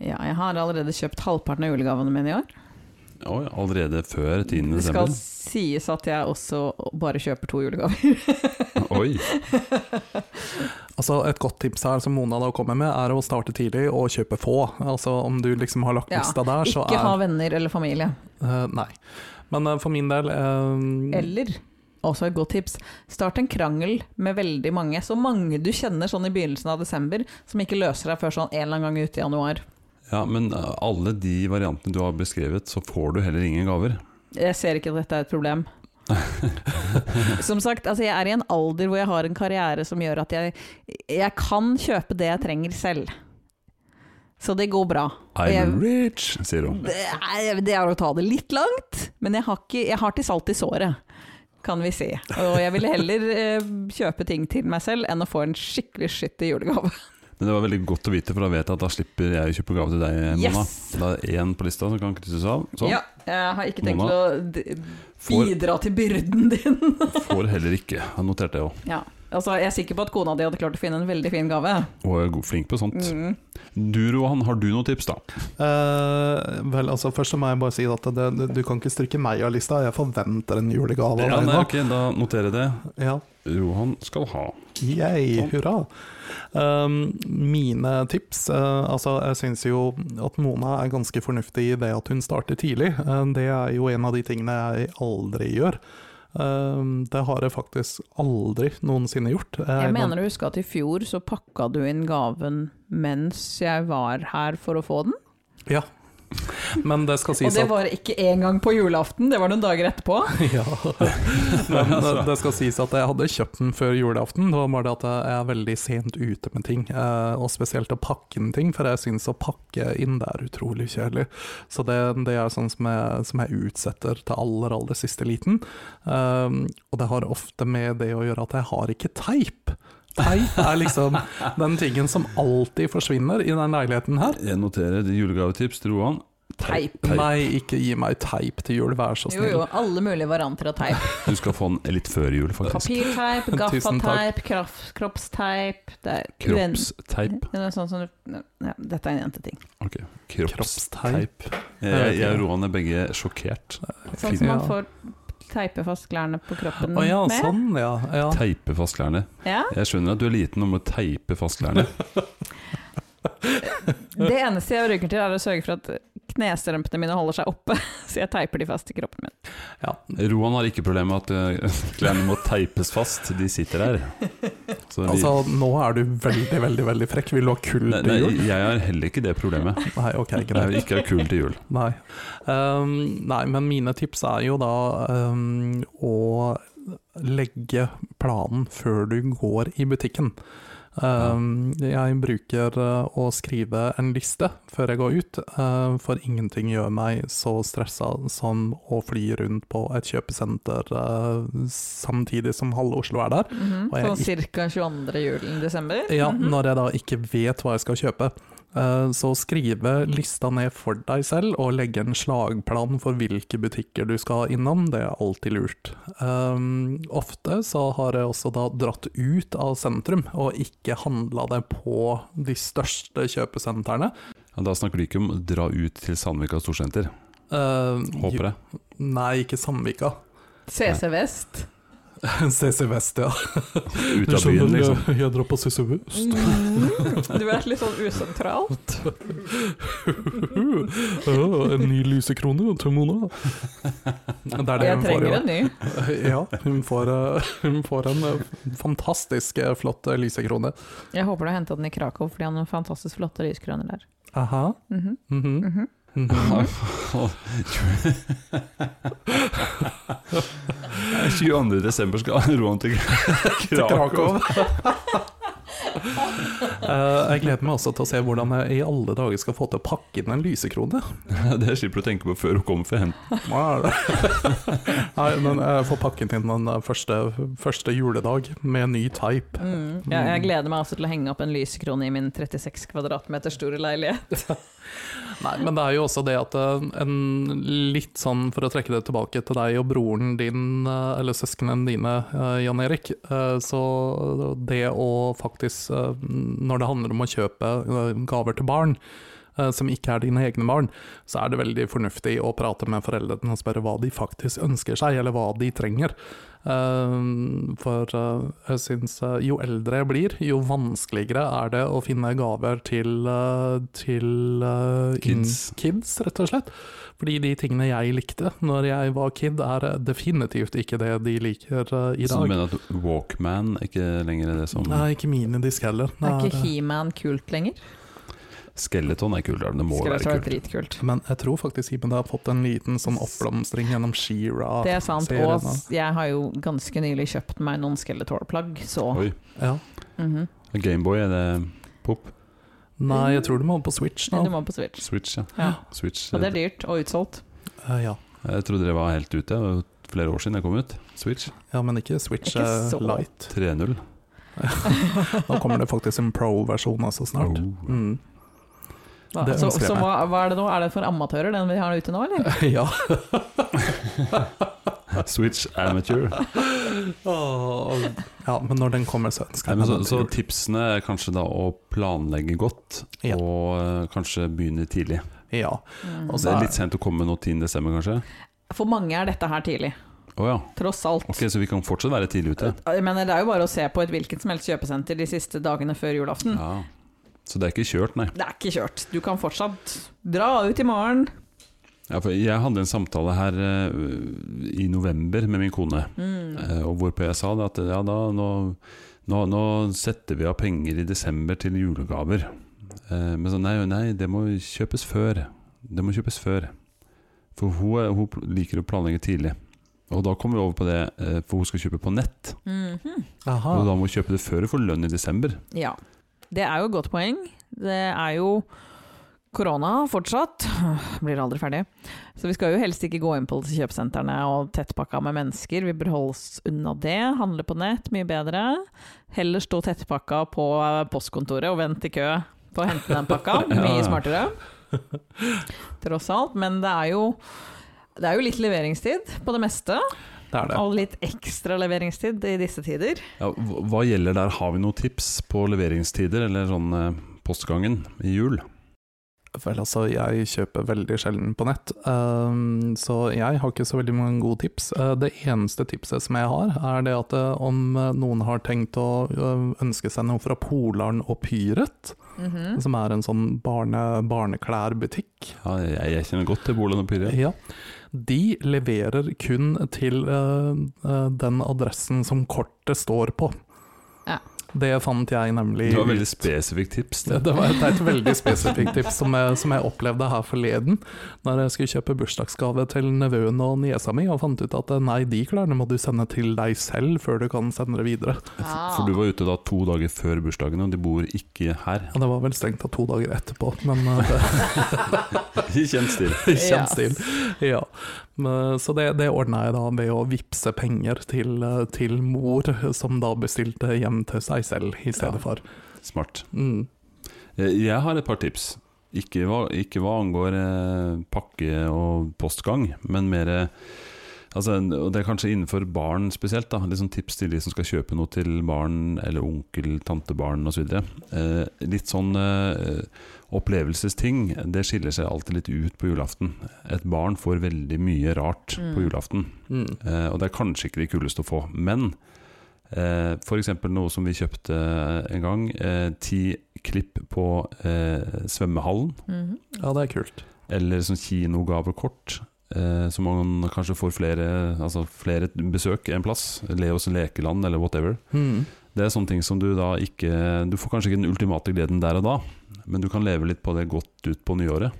S2: Ja, jeg har allerede kjøpt halvparten av julegavene mine i år.
S1: Oi, allerede før 10.
S2: Det skal
S1: desember?
S2: sies at jeg også bare kjøper to julegaver.
S1: Oi.
S3: Altså Et godt tips her som Mona da kommer med, er å starte tidlig og kjøpe få. Altså Om du liksom har lagt
S2: Ja,
S3: lista der, så
S2: Ikke
S3: er
S2: ha venner eller familie.
S3: Eh, Nei. Men eh, for min del eh,
S2: Eller, også et godt tips, start en krangel med veldig mange. Så mange du kjenner sånn i begynnelsen av desember, som ikke løser deg før sånn en eller annen gang ut i januar.
S1: Ja, men eh, alle de variantene du har beskrevet, så får du heller ingen gaver.
S2: Jeg ser ikke at dette er et problem. som sagt, altså jeg er i en alder hvor jeg har en karriere som gjør at jeg, jeg kan kjøpe det jeg trenger selv. Så det går bra. Og jeg-
S1: I'm rich, sier hun.
S2: Det er, det er å ta det litt langt, men jeg har, ikke, jeg har til salt i såret, kan vi si. Og jeg ville heller eh, kjøpe ting til meg selv enn å få en skikkelig skittig julegave.
S1: Men det var veldig godt å vite, for da vet jeg at da slipper jeg å kjøpe gave til deg, Mona.
S2: Yes!
S1: Da er det én på lista som kan krysses av. Sånn.
S2: Ja, jeg har ikke tenkt
S1: Mona.
S2: å d-
S1: Får,
S2: bidra til byrden din.
S1: får heller ikke. Jeg noterte det òg.
S2: Ja, altså Jeg er sikker på at kona di hadde klart å finne en veldig fin gave.
S1: Og er god- flink på sånt.
S2: Mm.
S1: Du Rohan, har du noen tips, da?
S3: eh, Vel, altså først så må jeg bare si at det, det, du kan ikke stryke meg av lista, jeg forventer en julegave av
S1: Ja,
S3: deg
S1: nei,
S3: nå.
S1: ok, Da noterer jeg det.
S3: Ja.
S1: Rohan skal ha.
S3: Yay, hurra. Um, mine tips eh, Altså, jeg syns jo at Mona er ganske fornuftig i det at hun starter tidlig. Eh, det er jo en av de tingene jeg aldri gjør. Um, det har jeg faktisk aldri noensinne gjort. Eh,
S2: Jeg mener å huske at i fjor så pakka du inn gaven mens jeg var her for å få den.
S3: Ja. Men det skal
S2: Og
S3: sies
S2: det
S3: at
S2: var ikke engang på julaften, det var noen dager etterpå.
S3: Ja. altså. Men det, det skal sies at jeg hadde kjøpt den før julaften. Det var bare det at jeg er veldig sent ute med ting, eh, og spesielt å pakke inn ting. For jeg syns å pakke inn det er utrolig kjedelig. Så det, det er sånn som jeg, som jeg utsetter til aller, aller siste liten. Um, og det har ofte med det å gjøre at jeg har ikke teip. Teip er liksom den tingen som alltid forsvinner i den leiligheten her.
S1: Jeg noterer de julegavetips til Rohan.
S2: Teip.
S3: Nei, ikke gi meg teip til jul, vær så
S2: Jo,
S3: snill.
S2: jo, alle mulige varianter av teip.
S1: Du skal få den litt før jul, faktisk.
S2: Papirteip,
S3: Tusen
S2: gaffateip,
S3: takk.
S2: kraft- kroppsteip det er
S1: Kroppsteip.
S2: Det er noe sånt som du, ja, Dette er en jenteting.
S1: Ok, Kropps.
S3: Kroppsteip.
S1: Jeg, jeg og Rohan er begge sjokkert.
S2: Sånn som man
S3: Ja.
S2: får teipe fast klærne på kroppen
S3: Å ja,
S2: med.
S3: sånn, ja. ja.
S1: Teipe fast klærne.
S2: Ja.
S1: Jeg skjønner at du er liten og må teipe fast klærne.
S2: Det eneste jeg rygger til, er å sørge for at knestrømpene mine holder seg oppe, så jeg teiper de fast i kroppen min.
S3: Ja,
S1: Rohan har ikke problemer med at eh, klærne må teipes fast, de sitter der. Så de,
S3: altså nå er du veldig, veldig veldig frekk. Vil du ha kull
S1: nei,
S3: til
S1: nei,
S3: jul?
S1: jeg har heller ikke det problemet.
S3: Nei, ok,
S1: Jeg
S3: greit.
S1: vil ikke ha kull til jul.
S3: Nei. Ehm, nei, men mine tips er jo da ehm, å legge planen før du går i butikken. Ehm, jeg bruker eh, å skrive en liste før jeg går ut, eh, for ingenting gjør meg så stressa som å fly rundt på et kjøpesenter eh, samtidig som halve Oslo er der.
S2: Mhm.
S3: Og jeg-
S2: Sånn ca. 22. julen desember.
S3: Ja,
S2: Mhm.
S3: når jeg da ikke vet hva jeg skal kjøpe. Eh, Så skrive lista ned for deg selv, og legge en slagplan for hvilke butikker du skal innom. Det er alltid lurt. Um, Ofte så har jeg også da dratt ut av sentrum, og ikke handla det på de største kjøpesentrene.
S1: Ja, Da snakker du ikke om å dra ut til Sandvika storsenter,
S3: Eh,
S1: håper jeg.
S3: Nei, ikke Sandvika.
S2: CC Vest.
S3: CC Vest, ja.
S1: Ut
S3: Du
S1: av byen,
S3: skjønner,
S1: liksom.
S3: jeg, jeg drar på CC Vest.
S2: Du er litt sånn usentral.
S3: Ja, en ny lysekrone til Mona. Det er det
S2: Jeg
S3: hun får,
S2: trenger
S3: ja.
S2: en ny.
S3: ja hun, får, eh, hun får en eh, fantastisk eh, flott eh, lysekrone.
S2: Jeg håper du har henta den i Krakow, fordi han har fantastisk flotte lyskroner der.
S3: Aha.
S2: Mhm.
S3: Mhm.
S2: Mhm.
S3: Mhm.
S1: Nei, 22. desember skal Roan til
S3: til
S1: Krakow.
S3: Krakow. Eh, jeg gleder meg også til å se hvordan jeg i alle dager skal få til å pakke inn en lysekrone.
S1: Det slipper du å tenke på før hun kommer for å hente
S3: Hva er det? Nei, men jeg får pakken inn den eh, første, første juledag med ny type.
S2: Mm. Ja, jeg gleder meg også til å henge opp en lysekrone i min 36 kvadratmeter store leilighet.
S3: Nei, men det er jo også det at eh, en litt sånn, for å trekke det tilbake til deg og broren din, eh, eller søsknene dine, eh, Jan Erik, eh, så det å faktisk, eh, når det handler om å kjøpe eh, gaver til barn, eh, som ikke er dine egne barn, så er det veldig fornuftig å prate med foreldrene og spørre hva de faktisk ønsker seg, eller hva de trenger. Eh, For eh, jeg syns eh, jo eldre jeg blir, jo vanskeligere er det å finne gaver til, eh, til eh, inn-
S1: Kids.
S3: kids, rett og slett. Fordi de tingene jeg likte når jeg var kid, er eh, definitivt ikke det de liker eh, i
S1: Så du
S3: dag.
S1: mener at Walkman ikke lenger er det som
S3: Nei, ikke minidisk heller.
S2: Er
S3: Nei,
S2: ikke He-Man kult lenger?
S1: Skeleton er kult, da. det må
S2: Skal det
S1: være
S2: være
S1: kult.
S2: dritkult.
S3: Men jeg tror faktisk Iben det har fått en liten sånn oppblomstring gjennom She-Ra.
S2: Det er sant.
S3: serien,
S2: Og
S3: da.
S2: s- jeg har jo ganske nylig kjøpt meg noen skeletorplagg, så
S1: Oi,
S3: Ja.
S2: Mhm.
S1: Gameboy er det pop?
S3: Nei, jeg tror du må på Switch nå.
S2: Du må på Switch.
S1: Switch, ja.
S2: Ja.
S1: Switch.
S2: Og det er
S1: eh,
S2: dyrt og utsolgt.
S3: Eh, ja.
S1: Jeg trodde det var helt ute, det var jo flere år siden jeg kom ut. Switch
S3: ja, men ikke Switch
S2: Ikke
S3: eh,
S2: så.
S3: Lite.
S1: 3.0.
S3: Nå kommer det faktisk en pro-versjon altså snart.
S1: Oh.
S3: Mm.
S2: Hva-
S3: Det
S2: så
S3: ønsker jeg
S2: så
S3: meg.
S2: hva, hva er det nå? Er det for amatører, den vi har ute nå, eller?
S3: ja.
S1: Switch amateur.
S3: ja, men når den kommer, så ønsker
S1: Nei,
S3: jeg
S1: men
S3: meg
S1: så,
S3: den
S1: så
S3: til jul.
S1: tipsene er kanskje da å planlegge godt,
S3: Ja.
S1: og eh, kanskje begynne tidlig.
S3: Ja.
S2: Mm.
S3: Og
S1: Det er litt sent å komme nå 10. desember, kanskje?
S2: For mange er dette her tidlig,
S1: Å ja.
S2: tross alt.
S1: Ok, så vi kan fortsatt være tidlig ute.
S2: Jeg mener, det er jo bare å se på et hvilket som helst kjøpesenter de siste dagene før julaften.
S1: Ja. Så det er ikke kjørt, nei.
S2: Det er ikke kjørt. Du kan fortsatt dra ut i morgen.
S1: Ja, for jeg hadde en samtale her eh, i november med min kone, eh, og hvorpå jeg sa det at ja, da, nå, nå, nå setter vi av penger i desember til julegaver. Eh, men så nei, nei, det må kjøpes før. Det må kjøpes før. For hun, er- hun pl- liker å planlegge tidlig. Og da kommer vi over på det, eh, for hun skal kjøpe på nett.
S2: Mhm.
S3: Aha.
S1: Og da må hun kjøpe det før hun får lønn i desember.
S2: Ja. Det er jo et godt poeng. Det er jo korona fortsatt. Blir aldri ferdig. Så vi skal jo helst ikke gå inn på disse kjøpesentrene og tettpakka med mennesker. Vi bør holde oss unna det. Handle på nett, mye bedre. Heller stå tettpakka på eh, postkontoret og vente i kø på å hente den pakka.
S1: Ja.
S2: Mye smartere. Tross alt. Men det er jo det er jo litt leveringstid på det meste,
S3: Det er det.
S2: og litt ekstra leveringstid i disse tider.
S1: Ja, hva hva gjelder der? Har vi noen tips på leveringstider eller sånn eh, postgangen i jul?
S3: Vel, altså, jeg kjøper veldig sjelden på nett, ehm, så jeg har ikke så veldig mange gode tips. Eh, det eneste tipset som jeg har, er det at eh, om eh, noen har tenkt å eh, ønske seg noe fra Polaren og Pyret,
S2: Mhm.
S3: som er en sånn barne, barneklærbutikk,
S1: Ja, jeg, jeg kjenner godt til Bolan og Pyrre.
S3: ja. de leverer kun til eh, eh, den adressen som kortet står på.
S2: Ja.
S3: Det fant jeg nemlig
S1: Det var veldig spesifikt tips.
S3: Det, det, var, det er et veldig spesifikt tips som jeg, som jeg opplevde her forleden. Når jeg skulle kjøpe bursdagsgave til nevøen og niesa mi, og fant ut at eh, nei, de klærne må du sende til deg selv før du kan sende det videre.
S1: For du var ute da to dager før bursdagen, og de bor ikke her.
S3: Og det var vel strengt tatt to dager etterpå, men eh,
S1: I kjent stil.
S3: det kjennes
S2: Yes.
S3: til. Ja. Men, Så det, det ordna jeg da ved å vippse penger til, eh, til mor, som da bestilte hjem til seg selv i
S1: Ja.
S3: stedet for.
S1: Smart.
S3: Mm.
S1: Eh, Jeg har et par tips. Ikke hva, ikke hva angår eh, pakke og postgang, men mer eh, Altså, og det er kanskje innenfor barn spesielt. da, litt sånn Tips til de som skal kjøpe noe til barn eller onkel, tantebarn osv. Eh, litt sånn eh, opplevelsesting det skiller seg alltid litt ut på julaften. Et barn får veldig mye rart
S2: Mm.
S1: på julaften.
S3: Mm.
S1: Eh, og det er kanskje ikke det kuleste å få, men eh, f.eks. noe som vi kjøpte en gang. Eh, ti klipp på eh, svømmehallen,
S2: Mhm.
S3: Ja, det er kult.
S1: eller sånn kinogavekort. Eh, så man kanskje får flere, altså flere besøk en plass. Leos lekeland eller whatever.
S3: Mm.
S1: Det er sånne ting som du da ikke Du får kanskje ikke den ultimate gleden der og da, men du kan leve litt på det godt ut på nyåret.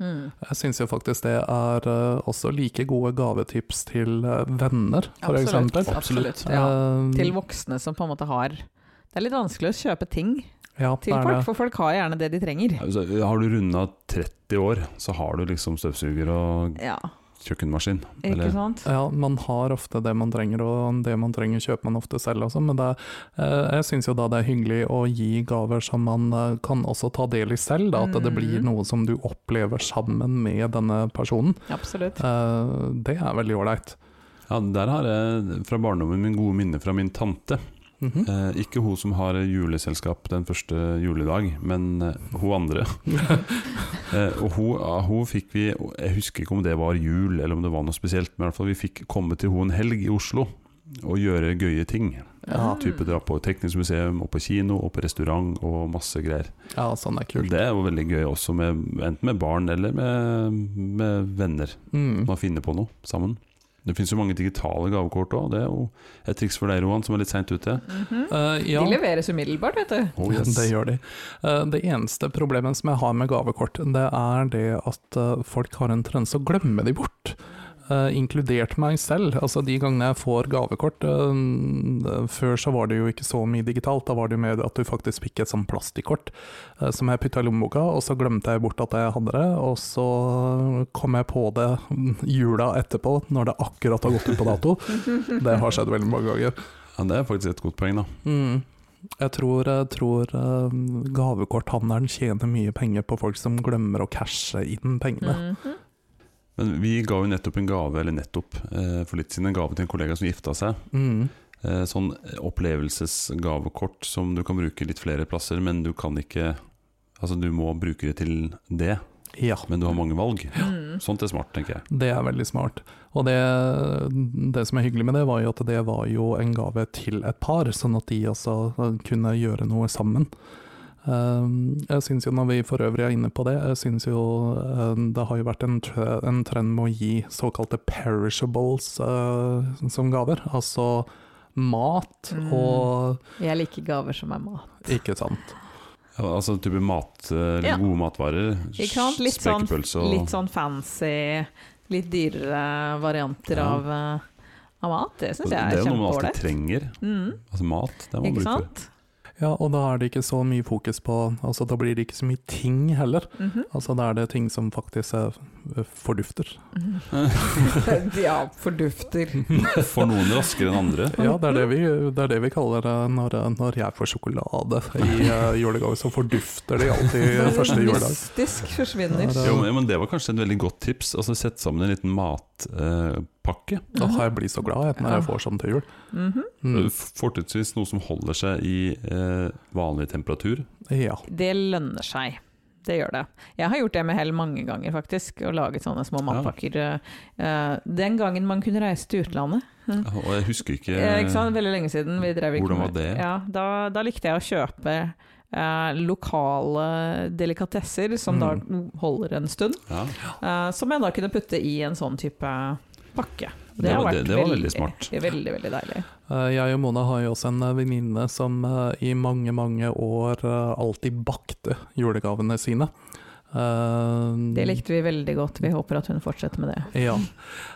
S2: Mm.
S3: Jeg syns jo faktisk det er eh, også like gode gavetips til eh, venner, for
S2: Absolutt.
S3: eksempel.
S2: Absolutt. Ja.
S3: Eh,
S2: Til voksne som på en måte har Det er litt vanskelig å kjøpe ting
S3: ja,
S2: til
S3: det er
S2: folk,
S3: det.
S2: for folk har gjerne det de trenger.
S1: Altså, har du runda 30 år, så har du liksom støvsuger og
S2: Ja,
S1: kjøkkenmaskin.
S2: ikke
S1: Eller-
S2: sant?
S3: Ja, man har ofte det man trenger, og det man trenger kjøper man ofte selv også, men det, er- eh, jeg syns jo da det er hyggelig å gi gaver som man eh, kan også ta del i selv, da, at det
S2: Mm.
S3: blir noe som du opplever sammen med denne personen.
S2: Absolutt.
S3: Eh, Det er veldig ålreit.
S1: Ja, Der har jeg fra barndommen min gode minner fra min tante.
S3: Mhm.
S1: Eh, ikke hun som har juleselskap den første juledag, men eh, hun andre. eh, og hun, ja, hun fikk vi Jeg husker ikke om det var jul eller om det var noe spesielt, men i hvert fall vi fikk komme til hun en helg i Oslo og gjøre gøye ting.
S3: Ja,
S1: Type dra på teknisk museum, og på kino, og på restaurant og masse greier.
S3: Ja, sånn er kult.
S1: Det er jo veldig gøy også, med, enten med barn eller med, med venner
S3: Mm.
S1: man finner på noe sammen. Det finnes jo mange digitale gavekort òg, det er jo et triks for deg, Roan, som er litt seint ute.
S2: Mhm.
S3: Eh, ja.
S2: De leveres umiddelbart, vet du.
S1: Oh, yes.
S3: Det gjør de. Eh, Det eneste problemet som jeg har med gavekort, det er det at eh, folk har en tendens å glemme de bort. Eh, inkludert meg selv. Altså De gangene jeg får gavekort eh, Før så var det jo ikke så mye digitalt, da var det jo mer at du faktisk fikk et sånn plastikkort eh, som jeg putta i lommeboka, og så glemte jeg bort at jeg hadde det, og så kom jeg på det jula etterpå, når det akkurat har gått ut på dato. Det har skjedd veldig mange ganger.
S1: Ja, det er faktisk et godt poeng, da.
S3: Mm. Jeg tror, jeg tror eh, gavekorthandleren tjener mye penger på folk som glemmer å cashe inn pengene.
S2: Mhm.
S1: Men vi ga jo nettopp en gave, eller nettopp, eh, for litt siden, en gave til en kollega som gifta seg.
S3: Mm.
S1: Eh, sånn opplevelsesgavekort som du kan bruke litt flere plasser, men du kan ikke Altså, du må bruke det til det,
S3: Ja,
S1: men du har mange valg.
S2: Mhm.
S1: Sånt er smart, tenker jeg.
S3: det er veldig smart. Og det, det som er hyggelig med det, var jo at det var jo en gave til et par, sånn at de også kunne gjøre noe sammen. Eh, Jeg synes jo Når vi for øvrig er inne på det, jeg synes jo eh, det har jo vært en, tre- en trend med å gi såkalte perishables eh, som gaver. Altså mat
S2: Mm.
S3: og
S2: Jeg liker gaver som er mat.
S3: Ikke sant.
S1: Ja, altså type mat, eh,
S2: Ja.
S1: gode matvarer.
S2: Ikke sant? Litt sånn-
S1: Spekepølse og
S2: Litt sånn fancy, litt dyrere varianter
S1: Ja.
S2: av, eh, av mat. Det syns
S1: Det
S2: jeg
S1: er
S2: er
S1: jo noe man alltid
S2: kjempeålreit.
S1: trenger.
S2: Mhm.
S1: Altså mat, det er man
S2: Ikke
S1: bruker.
S2: sant?
S3: Ja, og da er det ikke så mye fokus på Altså, da blir det ikke så mye ting heller.
S2: Mhm.
S3: Altså, da er det ting som faktisk er eh, fordufter.
S2: ja, fordufter.
S1: For noen raskere enn andre.
S3: Ja, det er det vi, det er det vi kaller det når, når jeg får sjokolade i eh, julegave, så fordufter de alltid første juledag.
S2: Mystisk forsvinner.
S3: Ja, det-
S1: Jo, men, men Det var kanskje et veldig godt tips. Altså Sett sammen en liten matpakke. Eh, pakke.
S3: Åh, jeg blir så glad jeg, når jeg får sånn til jul.
S2: Mhm.
S3: Mm.
S1: F- Fortrinnsvis noe som holder seg i eh, vanlig temperatur.
S3: Ja.
S2: Det lønner seg. Det gjør det. Jeg har gjort det med hell mange ganger, faktisk. Og laget sånne små matpakker. eh, Den gangen man kunne reise til utlandet.
S1: Og jeg husker ikke,
S2: Eh, Ikke sant? Veldig lenge siden. Vi drev ikke
S1: Hvordan var
S2: med-
S1: det?
S2: Ja, da, da likte jeg å kjøpe eh, lokale delikatesser som
S1: Mm.
S2: da holder en stund.
S1: Ja.
S2: eh, som jeg da kunne putte i en sånn type pakke.
S1: Det,
S2: har
S1: var, det,
S2: vært
S1: det var veldig smart.
S2: Veldig, veldig deilig.
S3: Eh, Jeg og Mona har jo også en eh, venninne som eh, i mange, mange år eh, alltid bakte julegavene sine. Eh,
S2: Det likte vi veldig godt. Vi håper at hun fortsetter med det.
S3: Ja,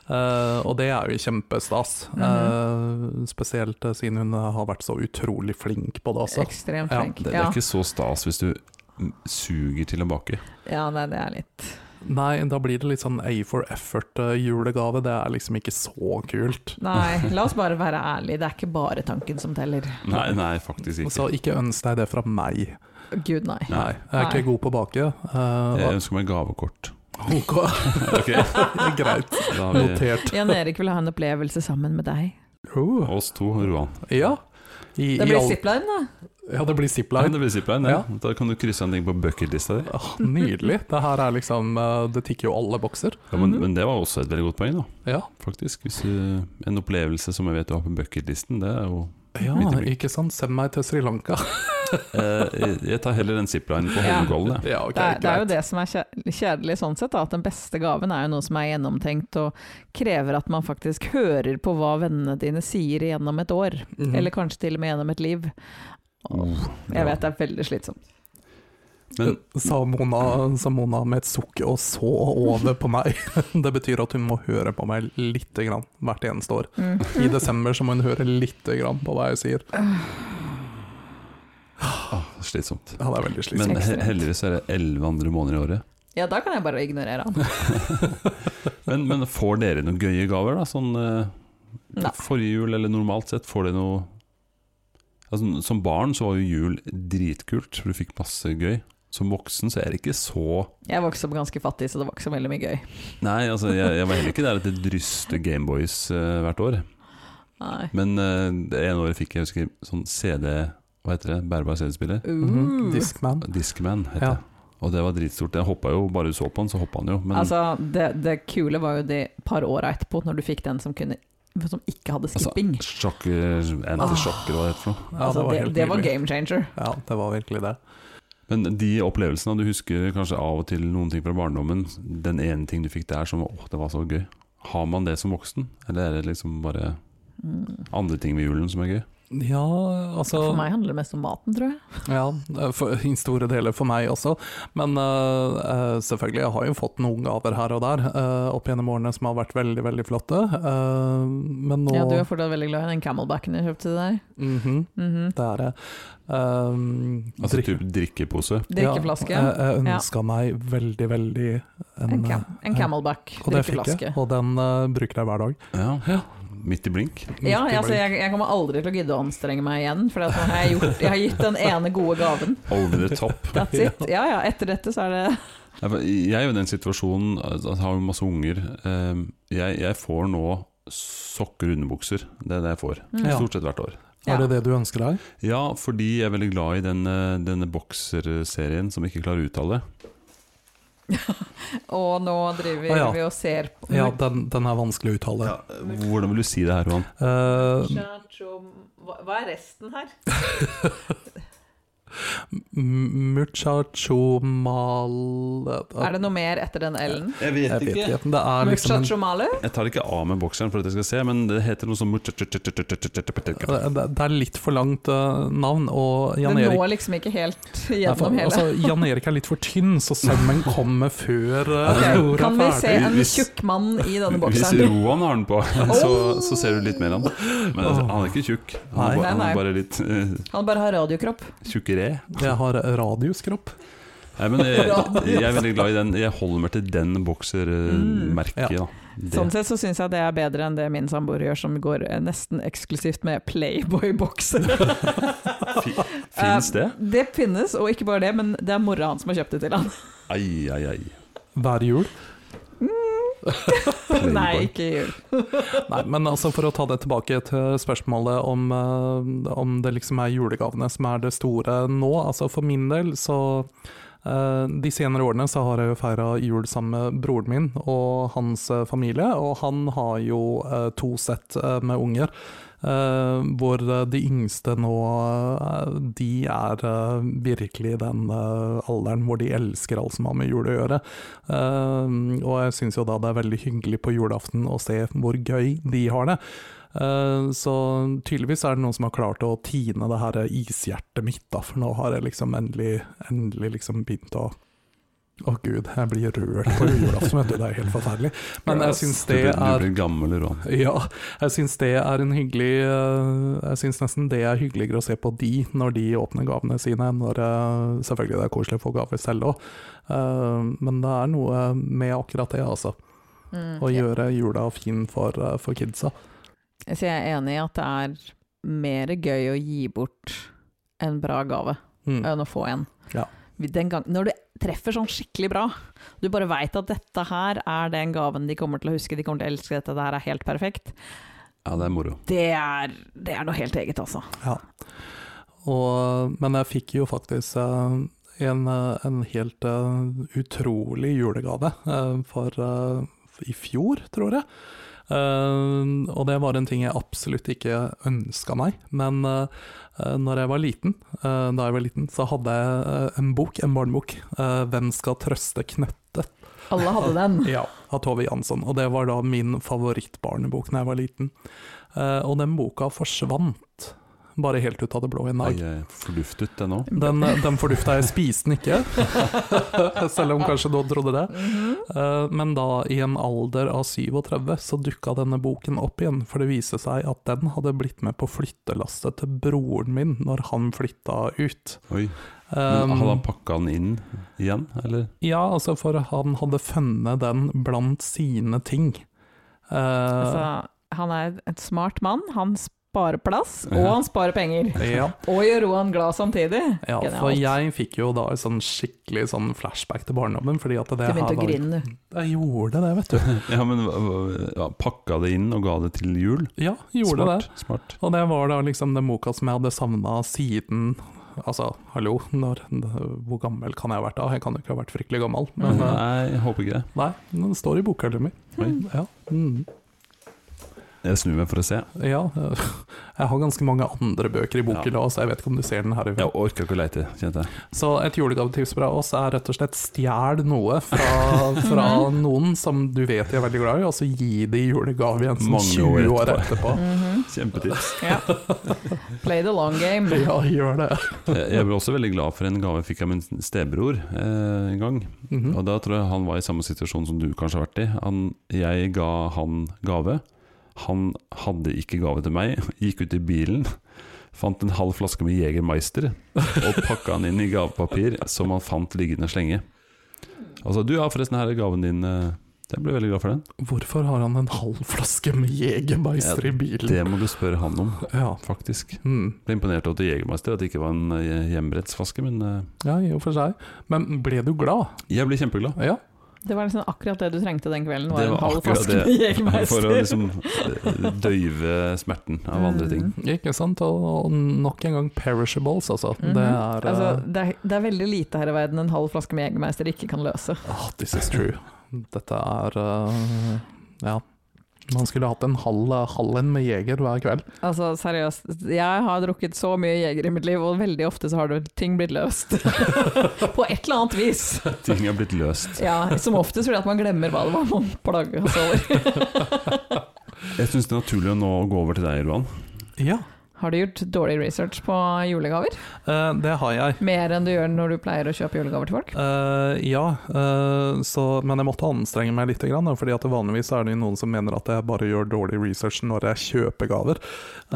S3: Eh, og det er jo kjempestas. Eh, spesielt eh, siden hun har vært så utrolig flink på det også.
S2: Ekstremt
S3: Ja,
S2: flink.
S1: Altså, Det, det
S2: Ja,
S1: er ikke så stas hvis du mm, suger til å bake.
S2: ja nei, det er litt
S3: Nei, da blir det litt sånn A for effort-julegave. Det er liksom ikke så kult.
S2: Nei, la oss bare være ærlige. Det er ikke bare tanken som teller.
S1: Nei, nei, faktisk ikke.
S3: Så ikke ønsk deg det fra meg.
S2: Gud, nei.
S1: Nei.
S3: Nei, jeg er ikke god på å bake. eh,
S1: Jeg
S3: og,
S1: ønsker meg gavekort.
S3: Ok,
S1: Eh. Ok,
S3: greit.
S1: da har vi
S3: Notert.
S2: Jan Erik vil ha en opplevelse sammen med deg.
S3: Oh,
S1: oss to, Roan.
S3: ja. I,
S2: Det
S3: i
S2: blir
S3: all-
S2: zipline, da.
S3: Ja, det blir
S1: Ja,
S3: zipline.
S1: det blir zipline. Ja. Da kan du krysse en ting på bucketlista di.
S3: Ah, nydelig. Det her er liksom eh, Det tikker jo alle bokser.
S1: Ja, men,
S2: Mhm.
S1: men det var også et veldig godt poeng, da.
S3: Ja,
S1: Faktisk. Hvis du, en opplevelse som jeg vet du har på bucketlisten, det er jo
S3: ja
S1: Midt i blinken.
S3: ikke sant. Send meg til Sri Lanka.
S1: eh, jeg, jeg tar heller en zipline på
S2: Ja.
S1: Holmenkollen, jeg.
S3: Ja, ok,
S2: Det er, det er jo
S3: greit.
S2: det som er kje- kjedelig sånn sett, da, at den beste gaven er jo noe som er gjennomtenkt og krever at man faktisk hører på hva vennene dine sier gjennom et år,
S3: Mhm.
S2: eller kanskje til og med gjennom et liv.
S1: Mm,
S2: Og Uh, jeg vet det er veldig slitsomt.
S1: Men
S3: sa, Mona, sa Mona med et sukk og så over på meg. Det betyr at hun må høre på meg lite grann hvert eneste år.
S2: Mm.
S3: I desember så må hun høre lite grann på hva jeg sier.
S1: ah, slitsomt.
S3: Ja, det er veldig slitsomt.
S1: Men he
S2: Ekstremt.
S1: heldigvis er det elleve andre måneder i året.
S2: Ja, da kan jeg bare ignorere han.
S1: Men, men får dere noen gøye gaver, da? Sånn eh,
S2: Nei.
S1: forrige jul, eller normalt sett, får dere noe altså, Som barn så var jo jul dritkult, for du fikk masse gøy. Som voksen så er det ikke så
S2: Jeg vokste opp ganske fattig, så det var ikke så veldig mye gøy.
S1: Nei, altså, jeg, jeg var heller ikke der at det dryste Gameboys eh, hvert år.
S2: Nei.
S1: Men eh, det ene året fikk jeg, jeg husker, sånn CD Hva heter det? Bærbar CD-spiller?
S3: Mhm.
S2: Uh.
S3: Discman.
S1: Discman het
S3: Ja.
S1: det. Og det var dritstort. Jeg hoppa jo, bare du så på den, så hoppa han jo. Men
S2: altså, det, det kule var jo de par åra etterpå, når du fikk den som, kunne, som ikke hadde
S1: Altså,
S2: skipping.
S1: sjokker, antisjokker, hva det heter for noe.
S3: Ja,
S2: Altså, det, det,
S3: helt
S2: var
S3: nydelig.
S2: game changer.
S3: Ja, det var virkelig det.
S1: Men de opplevelsene, du husker kanskje av og til noen ting fra barndommen. Den ene ting du fikk der som åh, det var så gøy. Har man det som voksen, eller er det liksom bare
S2: Mm.
S1: andre ting ved julen som er gøy?
S3: Ja, altså
S2: For meg handler det mest om maten, tror jeg.
S3: Ja, for, i store deler for meg også. Men øh, øh, selvfølgelig, jeg har jo fått noen gaver her og der øh, opp gjennom årene som har vært veldig, veldig flotte. Øh, men nå
S2: Ja, du er fortsatt veldig glad i den camelbacken jeg kjøpte til deg.
S3: Mhm,
S2: Mhm.
S3: Det er det. Um,
S1: Altså typ drikkepose.
S2: Drikkeflaske.
S3: Ja, jeg jeg ønska meg veldig, veldig en,
S2: en, cam en
S3: eh,
S2: camelback.
S3: Og det fikk jeg,
S2: Drikkeflaske.
S3: og den øh, bruker jeg hver dag.
S1: Ja. Midt i blink.
S2: Ja,
S3: Midt i
S2: altså, jeg, jeg kommer aldri til å gidde å anstrenge meg igjen, for at nå har jeg, gjort, jeg har gitt den ene gode gaven.
S1: Over the top.
S2: That's it. Ja ja, etter dette så er det
S1: Nei, for Jeg er jo i den situasjonen altså, Jeg har jo masse unger. eh, Jeg, jeg får nå sokker og underbukser. Det er det jeg får.
S2: Mm.
S3: Ja.
S1: Stort sett hvert år.
S2: Ja.
S3: Er det det du ønsker deg?
S1: Ja, fordi jeg er veldig glad i den, eh, denne bokserserien som jeg ikke klarer å uttale.
S2: Og nå driver
S3: Å, Ah, ja.
S2: vi og ser på
S3: Ja, den, den er vanskelig å uttale.
S1: Hvordan vil du si det her, Johan?
S3: Eh,
S2: Hva hva er resten her?
S3: m- Muchacho mal...
S2: Er det noe mer etter den L-en?
S1: Jeg vet
S3: Jeg vet ikke. Det er liksom en,
S2: Muchacho malu?
S1: Jeg tar ikke av med bokseren for at jeg skal se, men det heter noe som
S3: det det er litt for langt eh, navn, og
S2: Du
S3: Jan Erik
S2: når liksom ikke helt
S3: Nei, for-
S2: gjennom hele.
S3: altså, Jan Erik er litt for tynn, så sømmen kommer før
S2: Ok,
S3: eh, ordet
S2: Kan vi
S3: er
S2: se
S3: ferdig.
S2: en
S1: Hvis-
S2: tjukk mann i denne
S1: Hvis
S2: bokseren?
S1: Roan har den på, så, så ser du litt mer av den. Men altså, han er ikke tjukk, han er
S3: Nei.
S1: bare, han
S2: Nei, nei.
S1: er bare litt uh,
S2: Han bare har radiokropp.
S1: tjukkere.
S3: Jeg har radiuskropp.
S1: Nei, men jeg, jeg er veldig glad i den. Jeg holder meg til den boksermerket,
S3: Mm,
S1: da. Det.
S2: Sånn sett så syns jeg det er bedre enn det min samboer gjør, som går eh, nesten eksklusivt med Playboy-bokser.
S1: Fins det?
S2: Eh, Det finnes, og ikke bare det, men det er mora hans som har kjøpt det til han.
S1: Ai, ai, ai.
S3: Hver jul.
S2: Nei, ikke i jul.
S3: Nei, men altså for å ta det tilbake til spørsmålet om, eh, om det liksom er julegavene som er det store nå. Altså For min del så eh, De senere årene så har jeg jo feira jul sammen med broren min og hans eh, familie. Og han har jo eh, to sett eh, med unger. eh, hvor eh, de yngste nå eh, De er eh, virkelig i den eh, alderen hvor de elsker alt som har med jul å gjøre. Um, og jeg syns jo da det er veldig hyggelig på julaften å se hvor gøy de har det. Uh, så tydeligvis er det noen som har klart å tine det her ishjertet mitt, da, for nå har jeg liksom endelig, endelig liksom begynt å å gud, jeg blir rørt på julaften, vet du. Det er helt forferdelig. Men jeg syns
S1: Du
S3: det
S1: blir, du
S3: er
S1: blir gammel, Roan.
S3: ja, jeg syns det er en hyggelig øh, Jeg syns nesten det er hyggeligere å se på de når de åpner gavene sine, når øh, selvfølgelig det er koselig å få gaver selv òg, Øh, men det er noe med akkurat det, altså.
S2: Mm,
S3: Å
S2: ja.
S3: gjøre jula fin for, øh, for kidsa.
S2: Så jeg er enig i at det er mer gøy å gi bort en bra gave
S3: Mm.
S2: enn å få en.
S3: Ja.
S2: den gang, når du treffer sånn skikkelig bra, du bare veit at dette her er den gaven de kommer til å huske, de kommer til å elske dette, det her er helt perfekt,
S1: Ja, det er moro.
S2: det er, det er noe helt eget, altså.
S3: Ja. Og, men jeg fikk jo faktisk eh, en, eh, en helt eh, utrolig julegave eh, for eh, i fjor, tror jeg. Eh, og det var en ting jeg absolutt ikke ønska meg, men uh, når jeg var liten, eh, da jeg var liten, så hadde jeg eh, en bok, en barnebok, eh, 'Hvem skal trøste knøttet?'
S2: Alle hadde den.
S3: Ja, av Tove Jansson. Og det var da min favorittbarnebok da jeg var liten. Eh, og den boka forsvant bare helt ut av det blå en dag.
S1: Jeg er forduftet, den òg.
S3: Den, den fordufta jeg spiste den ikke, selv om kanskje noen trodde det.
S2: Mhm.
S3: Eh, Men da, i en alder av 37, så dukka denne boken opp igjen, for det viste seg at den hadde blitt med på flyttelasset til broren min når han flytta ut.
S1: Oi.
S3: Um,
S1: Men hadde han pakka den inn igjen, eller?
S3: Ja, altså, for han hadde funnet den blant sine ting. Eh,
S2: Altså, han er en smart mann, han sparer plass, og
S1: Ja.
S2: han sparer penger.
S3: Eh, ja.
S2: Og gjør Roan glad samtidig.
S3: ja, for
S2: Genialt.
S3: jeg fikk jo da en sånn skikkelig sånn flashback til barndommen, fordi at
S2: Du
S3: det
S2: begynte å
S3: her var
S2: grine, du.
S3: Jeg gjorde det, vet du.
S1: Ja, men hva- hva- ja, pakka det inn og ga det til jul?
S3: Ja, gjorde det.
S1: smart, smart.
S3: Og det var da liksom den boka som jeg hadde savna siden Altså, hallo, når, hvor gammel kan jeg ha vært da? Jeg kan jo ikke ha vært fryktelig gammel, men eh,
S1: Nei, jeg håper ikke det.
S3: nei, den står i bokhylla mi.
S1: Oi.
S3: Ja. Mm.
S1: Jeg snur meg for å se.
S3: ja. eh, Jeg har ganske mange andre bøker i bokhylla, så jeg vet ikke om du ser den her. i
S1: Jeg orka ikke å leite, kjente jeg.
S3: Så et julegavetips fra oss er rett og slett stjel noe fra, fra
S1: Mm.
S3: noen som du vet de er veldig glad i, og så gi de i julegave igjen som
S1: Mange
S3: 20
S1: år
S3: år
S1: etterpå.
S3: etterpå.
S2: Mhm.
S1: Kjempetips.
S2: ja. Play the long game.
S3: Ja, gjør det.
S1: Jeg jeg ble også veldig glad for en gave jeg fikk av min stebror eh, en gang.
S2: Mm.
S3: Mhm.
S1: Og Da tror jeg han var i samme situasjon som du kanskje har vært i. Han, jeg ga han gave. Han hadde ikke gave til meg. Gikk ut i bilen, fant en halv flaske med Jegermeister og pakka han inn i gavepapir som han fant liggende slenge. Altså, du har forresten her er gaven din. eh, Jeg ble veldig glad for den.
S3: Hvorfor har han en halv flaske med Jegermeister i bilen?
S1: Det må du spørre han om,
S3: Ja.
S1: faktisk.
S3: Mm.
S1: Ble imponert over til Jegermeister at det ikke var en eh, hjemmebretsflaske, men eh,
S3: ja, i og for seg. Men ble du glad?
S1: jeg ble kjempeglad.
S3: Ja.
S2: Det var liksom akkurat det du trengte den kvelden. Var
S1: Det
S2: det var
S1: var
S2: en halv
S1: akkurat
S2: flaske
S1: det.
S2: med
S1: For å
S2: Jegermeister.
S1: liksom døyve smerten av andre ting.
S2: Mm.
S3: Ikke sant? Og, og nok en gang perishables, altså.
S2: Mhm.
S3: Det er
S2: altså,
S3: altså,
S2: det, er, det er veldig lite her i verden en halv flaske med Jegermeister ikke kan løse.
S3: Ah, This is true. Dette er eh, Ja. Man skulle hatt en halv halv en med Jeger hver kveld.
S2: Altså, seriøst. Jeg har drukket så mye Jeger i mitt liv, og veldig ofte så har du, ting blitt løst. På et eller annet vis.
S1: Ting har blitt løst.
S2: Ja, som oftest fordi at man glemmer hva det var man plaga seg over.
S1: Jeg syns det er naturlig å nå gå over til deg, Roan.
S3: Ja,
S2: Har du gjort dårlig research på julegaver?
S3: eh, det har jeg.
S2: Mer enn du gjør når du pleier å kjøpe julegaver til folk?
S3: Eh, ja, eh, så, men jeg måtte anstrenge meg litt. Grann, da, fordi at vanligvis er det jo noen som mener at jeg bare gjør dårlig research når jeg kjøper gaver.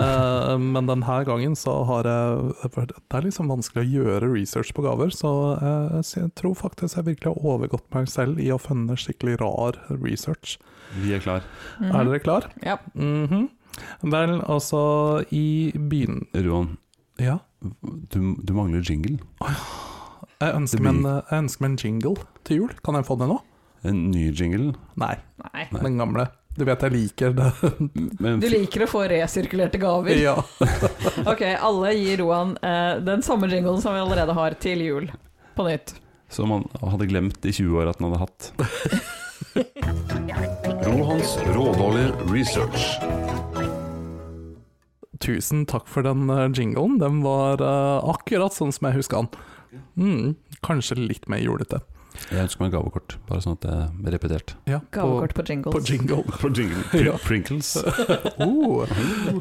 S3: Eh, men denne gangen så har jeg for Det er liksom vanskelig å gjøre research på gaver, så, eh, så jeg tror faktisk jeg virkelig har overgått meg selv i å funne skikkelig rar research.
S1: Vi er klar.
S2: Mhm.
S3: Er dere klar?
S2: Ja.
S3: Mhm. Vel, altså i begyn...
S1: Roan,
S3: Ja.
S1: du, du mangler jingle.
S3: Jeg ønsker,
S1: Det
S3: meg
S1: blir-
S3: en, jeg ønsker meg en jingle til jul. Kan jeg få det nå?
S1: En ny jingle.
S3: Nei.
S2: Nei.
S1: Nei.
S3: Den gamle. Du vet jeg liker det.
S1: Men
S2: Du liker å få resirkulerte gaver.
S3: ja.
S2: Ok, alle gir Roan eh, den samme jinglen som vi allerede har til jul. På nytt.
S1: som han hadde glemt i 20 år at han hadde hatt. Rohans rådårlige research.
S3: Tusen takk for den eh, jinglen. Den var eh, akkurat sånn som jeg huska den. Mm, kanskje litt mer julete.
S1: Jeg ønsker meg gavekort, bare sånn at det er repetert.
S3: Ja,
S2: Gavekort på
S3: På,
S2: jingles.
S3: på jingle.
S1: På jingle.
S3: Ja.
S1: Prinkles.
S3: Oh.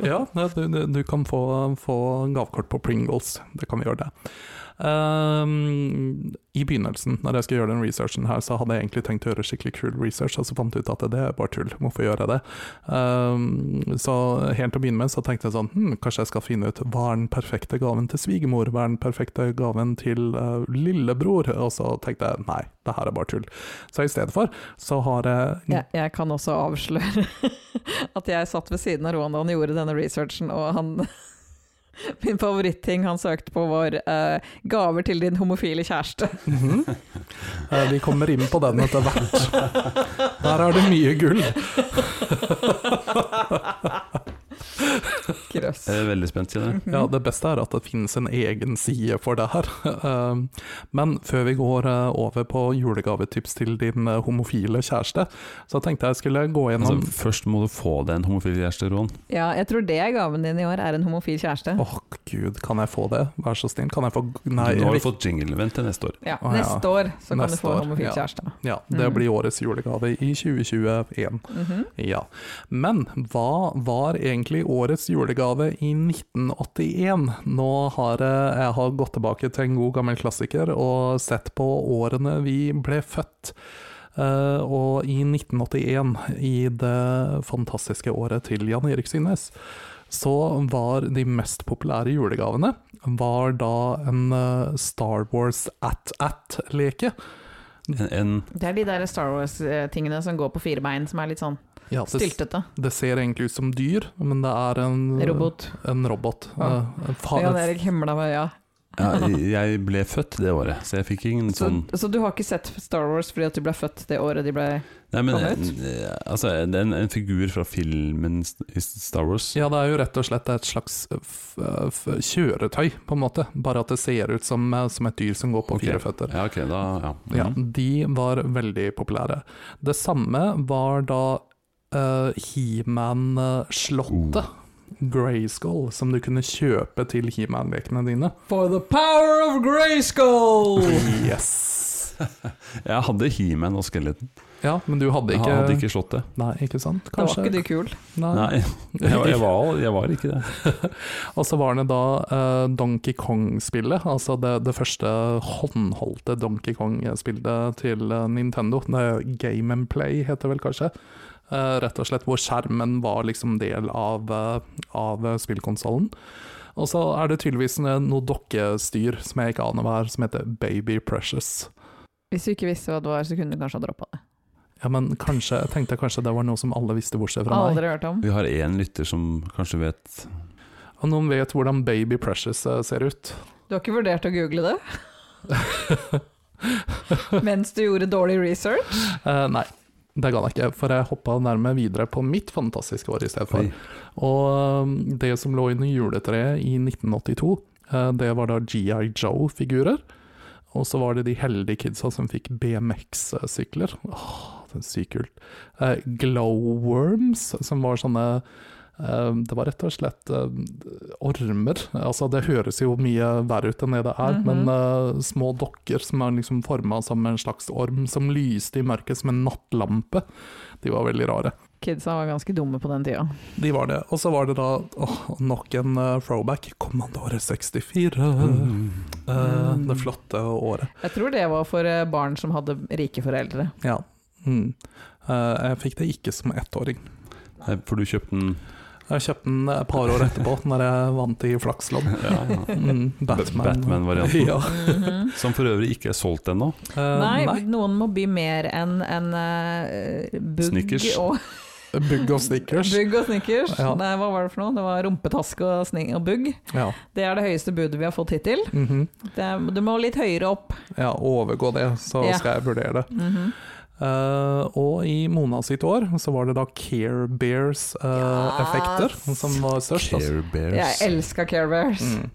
S3: Ja, nei, du, du, du kan få, få gavekort på Pringles. Det kan vi gjøre, det. Ehm, I begynnelsen, når jeg skulle gjøre den researchen her, så hadde jeg egentlig tenkt å gjøre skikkelig kul research, og så fant jeg ut at det er bare tull. Hvorfor gjør jeg det? Ehm, så helt til å begynne med så tenkte jeg sånn hm, Kanskje jeg skal finne ut hva er den perfekte gaven til svigermor? Hva er den perfekte gaven til eh, lillebror? Og så tenkte jeg nei, det her er bare tull. Så i stedet for så har jeg
S2: Ja, jeg kan også avsløre at jeg satt ved siden av Roan da han gjorde denne researchen, og han Min favoritting han søkte på var eh, 'gaver til din homofile kjæreste'.
S3: Mhm. Eh, Vi kommer inn på den etter hvert. Der er det mye gull.
S1: Mhm.
S2: Grøss.
S1: Jeg er veldig spent, kjenner jeg.
S3: Eh,
S2: Mhm.
S3: Ja, Det beste er at det finnes en egen side for det her. Um, Men før vi går eh, over på julegavetips til din eh, homofile kjæreste, så tenkte jeg skulle gå gjennom
S1: Altså, først må du få deg en homofil kjæreste, Roan.
S2: Ja, jeg tror det er gaven din i år, er en homofil kjæreste.
S3: Åh, gud, kan jeg få det? Vær så snill, kan jeg få Nei,
S1: Nå har
S3: vi-
S1: du fått jingle. Vent til neste år.
S2: Ja,
S3: Å, ja.
S2: Neste år så kan
S3: Neste
S2: du få
S3: år,
S2: en homofil
S3: ja.
S2: kjæreste.
S3: ja, det
S2: Mm.
S3: blir årets julegave i 2021.
S2: Mhm.
S3: Ja. Men hva var egentlig årets julegave i 1981? Nå har jeg, jeg har gått tilbake til en god gammel klassiker og sett på årene vi ble født. Eh, og i 1981, i det fantastiske året til Jan Erik Synnes, så var de mest populære julegavene var da en eh, Star Wars at-at-leke.
S1: En, en,
S2: Det er de der Star Wars-tingene som går på fire bein, som er litt sånn
S3: Ja, det,
S2: styltete.
S3: det ser egentlig ut som dyr, men det er en
S2: Robot.
S3: En robot.
S2: Ja.
S3: Eh, en fa-
S2: Jan Erik himla med ja.
S1: ja, jeg ble født det året, så jeg fikk ingen
S2: Så,
S1: sånn
S2: så du har ikke sett Star Wars fordi at du ble født det året de ble
S1: Nei, men
S2: Hva het?
S1: eh, altså, det er en, en figur fra filmen i Star Wars.
S3: ja, det er jo rett og slett et slags eh, f f kjøretøy, på en måte. Bare at det ser ut som, eh, som et dyr som går på
S1: Ok.
S3: fire føtter.
S1: Ja, ok, da ja. Mm.
S3: Ja, de var veldig populære. Det samme var da eh,
S1: Oh.
S3: He-Man-slottet. Grayskull, som du kunne kjøpe til He-Man-lekene dine.
S2: For the power of Grayskull!
S3: Yes!
S1: Jeg hadde He-Man og Skeleton.
S3: Ja, men du hadde
S1: Jeg
S3: ikke,
S1: hadde ikke slått det.
S3: Nei, ikke sant?
S2: Da var
S3: Kanskje
S2: ikke du kul.
S3: Nei.
S1: Nei, jeg, var- jeg, var, jeg var ikke det.
S3: Og så var det da eh, Donkey Kong-spillet, altså det, det første håndholdte Donkey Kong-spillet til eh, Nintendo. Det er Game and Play heter det vel kanskje. Eh, rett og slett hvor skjermen var liksom del av, eh, av spillkonsollen. Og så er det tydeligvis eh, noe dokkestyr som jeg ikke aner hva er, som heter Baby Precious.
S2: Hvis du ikke visste hva det var, så kunne du kanskje ha droppa det.
S3: Ja, men kanskje, jeg tenkte kanskje det var noe som alle visste bortsett fra meg.
S2: Aldri hørt om.
S1: Vi har én lytter som kanskje vet
S3: Og noen vet hvordan Baby Precious eh, ser ut.
S2: Du har ikke vurdert å google det? Mens du gjorde dårlig research?
S3: Eh, nei, det gadd jeg ikke, for jeg hoppa nærmere videre på mitt fantastiske år i stedet for.
S1: Oi.
S3: Og um, det som lå under juletreet i 1982, eh, det var da GI Joe-figurer. Og så var det de heldige kidsa som fikk BMX-sykler. Åh, det er sykt kult. Eh, glowworms, som var sånne eh, det var rett og slett eh, ormer. Altså, det høres jo mye verre ut enn det det er,
S2: Mhm.
S3: men eh, små dokker som er liksom forma som en slags orm, som lyste i mørket som en nattlampe. De var veldig rare.
S2: Kidsa var ganske dumme på den tida.
S3: De var det. Og så var det da åh, nok en eh, throwback. Kommandore 64.
S1: Mm.
S3: Eh, det flotte året.
S2: Jeg tror det var for eh, barn som hadde rike foreldre.
S3: Ja. Mm. Eh, jeg fikk det ikke som ettåring.
S1: Nei, For du kjøpte den
S3: Jeg kjøpte den et par år etterpå, når jeg vant i flakslodd.
S1: ja, ja.
S3: Mm, Batman.
S1: Batman-varianten.
S3: Ja.
S2: Mhm.
S1: Som for øvrig ikke er solgt ennå.
S3: Eh,
S2: Nei,
S3: nei.
S2: noen må by mer enn en, eh, bugg
S1: Snickers.
S2: og
S3: Bugg og Snickers.
S2: Bugg og snickers.
S3: Ja.
S2: Nei, hva var det for noe? Det var rumpetaske og, sni- og bugg.
S3: Ja.
S2: Det er det høyeste budet vi har fått hittil.
S3: mhm.
S2: Det er, du må litt høyere opp.
S3: ja, overgå det, så
S2: Ja.
S3: skal jeg vurdere det.
S2: Mhm.
S3: Eh, og i Mona sitt år så var det da Care Bears-effekter
S2: Yes.
S3: som var størst. altså.
S1: Care
S2: Jeg
S1: Bears.
S2: elska Care Bears.
S3: Mm.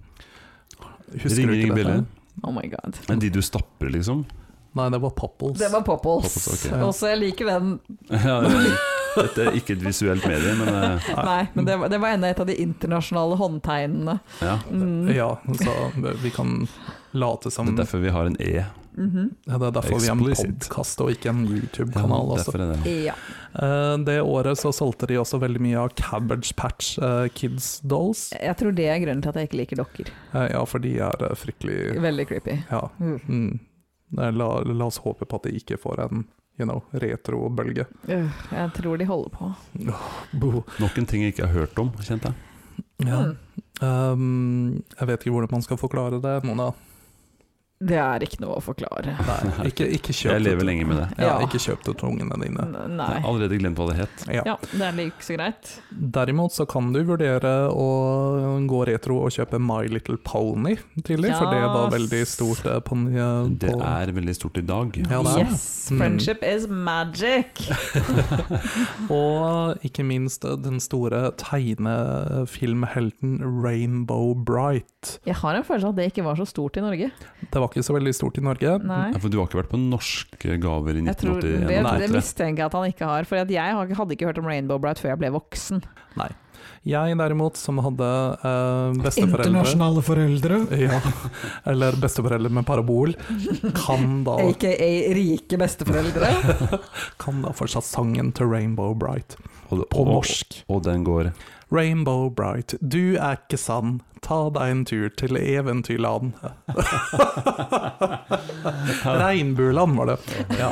S3: Husker
S1: Ringer
S3: du
S1: ingen
S3: ikke dette?
S1: bjeller?
S2: Oh my god.
S1: Men de du stapper, liksom?
S3: Nei, det var Popples.
S2: Det var Popples.
S1: Popples, ok.
S3: Ja.
S2: Også jeg liker den.
S1: Ja, det- dette er ikke et visuelt medie, men eh,
S2: Nei, men det var, det var enda et av de internasjonale håndtegnene.
S1: ja.
S2: Mm.
S3: Ja, så vi kan late som
S1: Det er derfor vi har en E.
S2: Mhm.
S3: Ja, Det er derfor vi har en
S1: Explicit.
S3: podkast og ikke en YouTube-kanal.
S1: Ja,
S3: altså.
S1: derfor er det.
S2: Ja.
S3: Eh, det året så solgte de også veldig mye av Cabbage Patch eh, Kids Dolls.
S2: Jeg tror det er grunnen til at jeg ikke liker dokker.
S3: Eh, ja, for de er eh, fryktelig
S2: Veldig creepy.
S3: Ja. Mm. Nei, La, la oss håpe på at de ikke får en you know, retro-bølge.
S2: Øh, Jeg tror de holder på.
S3: Bo.
S1: Nok en ting jeg ikke har hørt om, kjente jeg.
S3: Ja.
S2: Mm.
S3: Um, jeg vet ikke hvordan man skal forklare det, Mona.
S2: Det er ikke noe å forklare.
S3: Nei, ikke, ikke kjøp
S1: Jeg lever
S3: det.
S1: lenge med det.
S3: Ja,
S2: Ja.
S3: ikke kjøp det til ungene dine.
S2: N-
S1: Jeg har
S2: Nei.
S1: allerede glemt hva det het.
S3: Ja.
S2: Ja, det er ikke så greit.
S3: Derimot så kan du vurdere å gå retro og kjøpe My Little Pony tidlig, for det var veldig stort eh, på, på
S1: Det er veldig stort i dag.
S3: Ja, det er det.
S2: Yes,
S3: Mm.
S2: friendship is magic!
S3: Og ikke minst eh, den store tegnefilmhelten Rainbow Bright.
S2: Jeg har en følelse av at det ikke var så stort i Norge.
S3: Det var ikke så veldig stort i Norge.
S2: Nei.
S1: Ja, for du har ikke vært på norske gaver i
S2: Jeg tror, det,
S1: 1981?
S2: det mistenker jeg at han ikke har, for at jeg har- hadde ikke hørt om Rainbow Bright før jeg ble voksen.
S3: Jeg derimot, som hadde eh, besteforeldre
S4: Internasjonale foreldre.
S3: ja, Eller besteforeldre med parabol, kan da,
S2: AKA rike besteforeldre.
S3: kan da fortsatt sangen til Rainbow Bright
S1: og,
S3: på
S1: og,
S3: norsk.
S1: og den går
S3: Rainbow Bright, du er ikke sann, ta deg en tur til eventyrland. Regnbueland var det. Ja.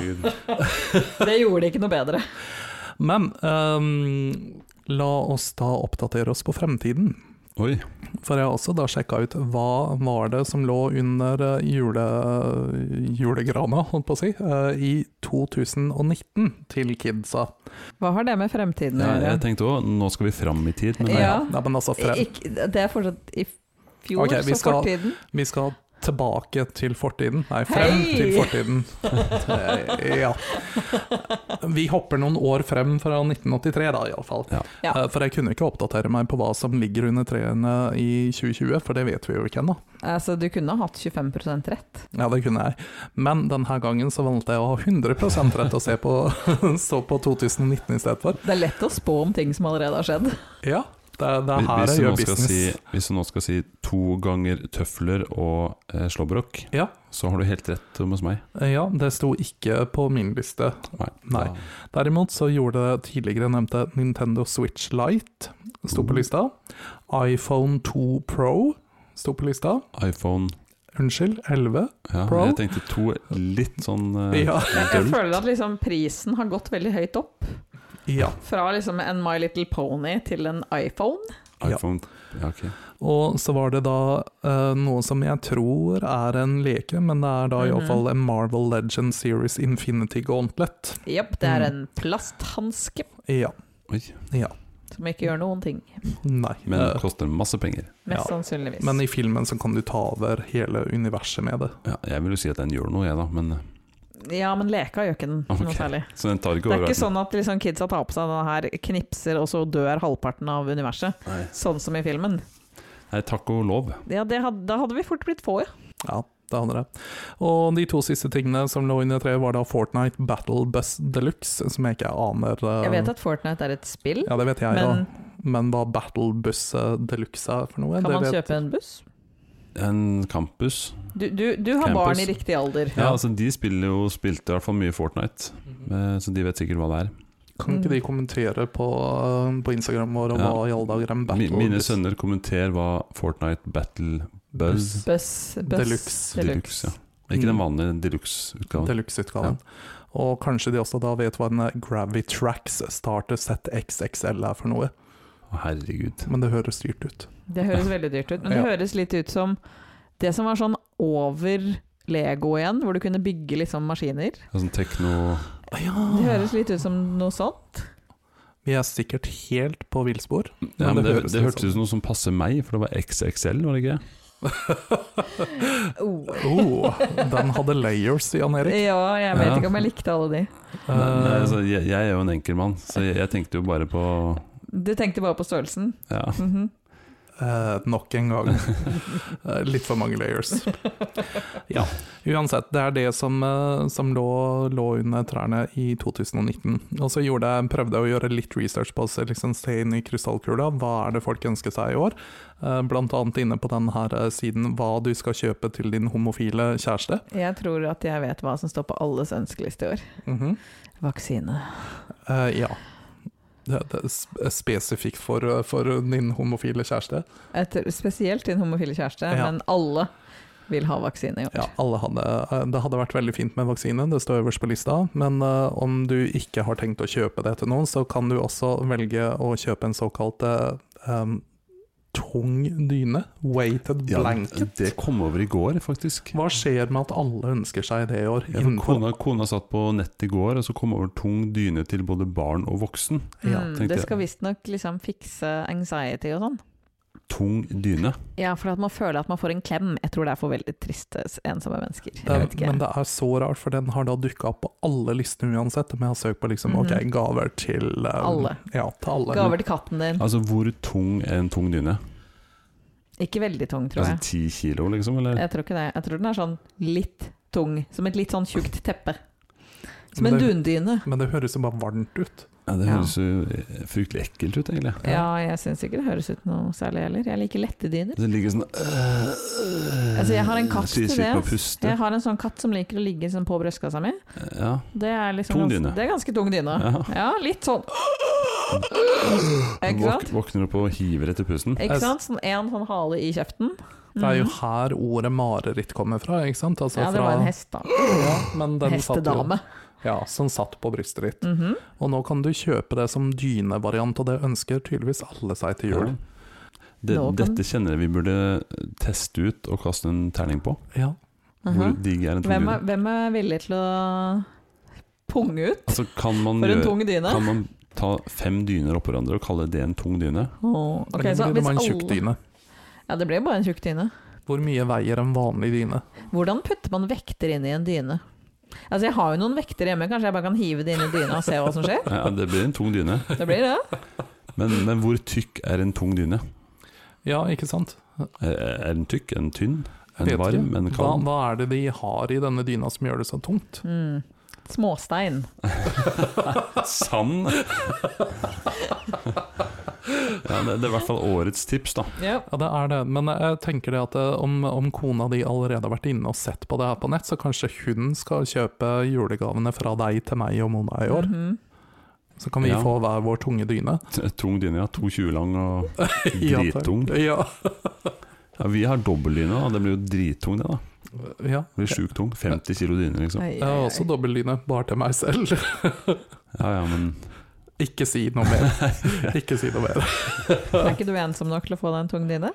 S2: Det gjorde det ikke noe bedre.
S3: Men ehm, la oss da oppdatere oss på fremtiden.
S1: Oi.
S3: For jeg har også da sjekka ut hva var det som lå under eh, jule, julegrana, holdt på å si, eh, i 2019 til kidsa.
S2: Hva har det med fremtiden å
S1: Ja, jeg
S2: gjøre?
S1: tenkte òg nå skal vi fram i tid. Men
S2: Ja.
S3: Nei, men altså, frem,
S2: Ikk- det er fortsatt i fjor,
S3: Ok, vi
S2: så
S3: skal-
S2: fortiden.
S3: vi skal tilbake til fortiden. Nei, frem
S2: Hei!
S3: til fortiden. Eh, Ja. Vi hopper noen år frem fra 1983, da, iallfall.
S1: Ja.
S2: Ja.
S3: Eh, For jeg kunne ikke oppdatere meg på hva som ligger under trærne i 2020, for det vet vi jo ikke ennå.
S2: Altså, du kunne hatt 25 rett.
S3: Ja, det kunne jeg. Men denne gangen så valgte jeg å ha 100 rett og se på, så på 2019 i stedet for.
S2: Det er lett å spå om ting som allerede har skjedd.
S3: Ja, det, er- det er
S1: Hvis- hvis
S3: her jeg
S1: du nå
S3: gjør
S1: skal
S3: business.
S1: si- Hvis du nå skal si to ganger tøfler og eh, slåbrok,
S3: Ja.
S1: så har du helt rett hos meg.
S3: Ja, det sto ikke på min liste. Nei.
S1: Da-
S3: Derimot så gjorde det tidligere nevnte Nintendo Switch Lite sto på lista. iPhone 2 Pro sto på lista.
S1: iPhone
S3: Unnskyld, 11.
S1: ja,
S3: Pro?
S1: Jeg tenkte to litt sånn eh,
S3: Ja.
S2: Jeg, jeg
S1: døll.
S2: føler at liksom prisen har gått veldig høyt opp.
S3: Ja.
S2: Fra liksom en My Little Pony til en iPhone.
S3: Ja.
S1: iPhone ja, ok.
S3: Og så var det da eh, noe som jeg tror er en leke, men det er da
S2: Mhm.
S3: iallfall en Marvel Legend Series Infinity Gauntlet.
S2: Jepp, det er
S3: Mm.
S2: en plasthanske
S3: Ja.
S1: Oi.
S2: som ikke gjør noen ting.
S3: Nei.
S1: Men
S3: Eh,
S1: det koster masse penger.
S2: Mest
S3: Ja,
S2: sannsynligvis.
S3: men i filmen så kan du ta over hele universet med det.
S1: Ja, jeg vil jo si at den gjør noe, jeg, da. Men,
S2: ja, men leka gjør ikke den
S1: Ok.
S2: noe særlig.
S1: så den tar ikke
S2: Det
S1: over
S2: er ikke
S1: verden.
S2: sånn at liksom kidsa tar på seg denne her, knipser, og så dør halvparten av universet.
S1: Nei.
S2: Sånn som i filmen.
S1: Nei, takk og lov.
S2: Ja, det hadde, Da hadde vi fort blitt få, ja.
S3: Ja, det hadde det. Og de to siste tingene som lå under treet, var da Fortnite Battle Bus Deluxe, som jeg ikke aner eh,
S2: Jeg vet at Fortnite er et spill,
S3: Ja, det vet jeg,
S2: men
S3: da. Men hva Battle Bus eh, Deluxe er for noe,
S2: kan
S3: det
S2: man
S3: vet
S2: kjøpe en buss?
S1: En campus
S2: Du, du, du har
S1: Campus.
S2: barn i riktig alder.
S1: Ja, altså De spiller jo, spilte i hvert fall mye Fortnite,
S3: Mhm.
S1: eh, så de vet sikkert hva det er.
S2: Mm.
S3: Kan ikke de kommentere på, eh, på Instagram vår og
S1: Ja.
S3: hva i alle dager en
S1: Mi-
S3: Battle
S1: Mine
S3: Bus
S1: sønner kommenterer hva Fortnite Battle Buzz
S2: Buss, buss
S3: Deluxe.
S1: Deluxe, ja. Ikke
S3: Mm.
S1: den vanlige deluxe-utgaven.
S3: Deluxe-utgaven. Og kanskje de også da vet hva en eh, Gravitrax Starter Set XXL er for noe,
S1: Å, Herregud.
S3: men det høres dyrt ut.
S2: Det høres veldig dyrt ut, men det
S3: Ja.
S2: høres litt ut som det som var sånn over Lego igjen, hvor du kunne bygge liksom maskiner.
S1: Det er Sånn tekno
S2: Det høres litt ut som noe sånt.
S3: Vi er sikkert helt på villspor.
S1: ja,
S3: Men
S1: men
S3: det
S1: Det, det
S3: høres litt sånn-
S1: hørtes ut som noe som passer meg, for det var XXL, var det ikke?
S3: Oh, den hadde layers, Jan Erik.
S2: Ja, jeg vet
S1: Ja.
S2: ikke om jeg likte alle de.
S3: Eh.
S1: Nei, nei, altså, jeg, jeg er jo en enkel mann, så jeg, jeg tenkte jo bare på
S2: Du tenkte bare på størrelsen.
S1: ja.
S2: Mhm.
S3: Eh, nok en gang. Eh, litt for mange layers. Ja, uansett. Det er det som, eh, som lå, lå under trærne i 2019. Og så gjorde jeg, prøvde jeg å gjøre litt research på å se- liksom, se inn i krystallkula. Hva er det folk ønsker seg i år? Eh, blant annet inne på den her eh, siden hva du skal kjøpe til din homofile kjæreste.
S2: Jeg tror at jeg vet hva som står på alles ønskeliste i år.
S3: Mhm.
S2: Vaksine.
S3: Eh, ja. Det, det er sp- spesifikt for, eh, for din homofile kjæreste.
S2: Et, spesielt din homofile kjæreste,
S3: Ja.
S2: men alle vil ha vaksine i år.
S3: Ja, alle hadde, eh, det hadde vært veldig fint med vaksine, det står øverst på lista. Men eh, om du ikke har tenkt å kjøpe det til noen, så kan du også velge å kjøpe en såkalt eh, em, tung dyne. Weighted
S1: Ja,
S3: blanket.
S1: Det kom over i går, faktisk.
S3: Hva skjer med at alle ønsker seg det i år?
S1: Ja, for
S3: Innenfor-
S1: kona, kona satt på nett i går, og så kom over tung dyne til både barn og voksen.
S3: Ja,
S2: Mm,
S1: tenkte
S2: det
S1: jeg.
S2: skal visstnok liksom fikse anxiety og sånn.
S1: Tung dyne.
S2: Ja, for at man føler at man får en klem. Jeg tror det er for veldig triste, ensomme mennesker.
S3: Det
S2: Jeg
S3: er,
S2: vet ikke.
S3: men det er så rart, for den har da dukka opp på alle listene uansett. Men jeg har søkt på liksom,
S2: Mhm.
S3: ok, gaver til eh,
S2: Alle.
S3: Ja, til alle.
S2: Gaver til katten din.
S1: Altså, hvor tung er en tung dyne?
S2: Ikke veldig tung, tror
S1: Altså
S2: jeg.
S1: ti kilo, liksom? Eller?
S2: Jeg tror ikke det. Jeg tror den er sånn litt tung. Som et litt sånn tjukt teppe. Som
S3: Men
S2: en
S3: det-
S2: dundyne.
S3: Men det høres jo bare varmt ut.
S1: Ja, det
S2: Ja.
S1: høres jo eh, fryktelig ekkelt ut, egentlig.
S2: Ja, jeg syns ikke det høres ut noe særlig heller. Jeg liker lette dyner.
S1: Det ligger sånn øh,
S2: Altså, jeg har en katt til det,
S1: Sliter å
S2: ass.
S1: puste.
S2: Jeg har en sånn katt som liker å ligge sånn på brystkassa mi.
S1: Ja.
S2: Det er liksom
S1: Tung
S2: gans-
S1: dyne.
S2: Det er ganske tung dyne. Ja,
S1: Ja.
S2: litt sånn Ikke
S1: Våk,
S2: sant?
S1: våkner opp og hiver etter pusten.
S2: Ikke sant? Sånn en sånn hale i kjeften.
S3: Det er jo
S2: Mhm.
S3: her ordet mareritt kommer fra, ikke sant? Altså,
S2: Ja, det
S3: fra,
S2: var en hest, da.
S3: Ja, men den Satt jo,
S2: Hestedame.
S3: ja, som satt på brystet ditt.
S2: Mhm.
S3: Og nå kan du kjøpe det som dynevariant, og det ønsker tydeligvis alle seg til jul.
S1: Det,
S2: Nå kan-
S1: dette kjenner jeg vi burde teste ut og kaste en terning på.
S3: Ja.
S1: Hvor
S2: Aha.
S1: digg er en tung
S2: Mhm. Hvem
S1: dyne?
S2: er, hvem er villig til å punge ut
S1: Altså, kan man,
S2: for en
S1: gjøre,
S2: tung dyne?
S1: kan man ta fem dyner oppå hverandre og kalle det en tung dyne?
S2: Åh, ok,
S3: Eller
S2: så
S3: blir det
S2: hvis
S3: bare en tjukk
S2: alle-
S3: dyne?
S2: Ja, det blir bare en tjukk dyne.
S3: Hvor mye veier en vanlig dyne?
S2: Hvordan putter man vekter inn i en dyne? Altså, jeg har jo noen vekter hjemme, kanskje jeg bare kan hive det inn i dyna og se hva som skjer?
S1: Ja, det blir en tung dyne.
S2: Det blir det.
S1: Men, men hvor tykk er en tung dyne?
S3: Ja, ikke sant?
S1: Er er den Eh, tykk? Er den tynn? Er
S3: Vet
S1: den varm?
S3: du?
S1: Er den
S3: Hva,
S1: kald?
S3: hva er det de har i denne dyna som gjør det så tungt?
S2: Mm. Småstein.
S1: Sand? ja, det, det er i hvert fall årets tips, da.
S2: Ja.
S3: Ja, det er det, men jeg tenker det at eh, om, om kona di allerede har vært inne og sett på det her på nett, så kanskje hun skal kjøpe julegavene fra deg til meg og Mona i år.
S2: Mhm.
S3: Så kan vi
S1: Ja.
S3: få hver vår tunge dyne.
S1: T- Tung dyne, ja. 2,20 lang og
S3: Ja, takk.
S1: drittung.
S3: Ja.
S1: Ja, vi har dobbeldyne, da. Det blir jo drittung, det. da
S3: ja.
S1: Det blir sjukt tung. 50 kilo dyne, liksom.
S2: Ai, ai,
S3: Jeg har
S2: ai.
S3: også dobbeltdyne, bare til meg selv.
S1: Ja, ja, men
S3: Ikke si noe mer. Ikke si noe mer.
S2: Er ikke du ensom nok til å få deg en tung dyne?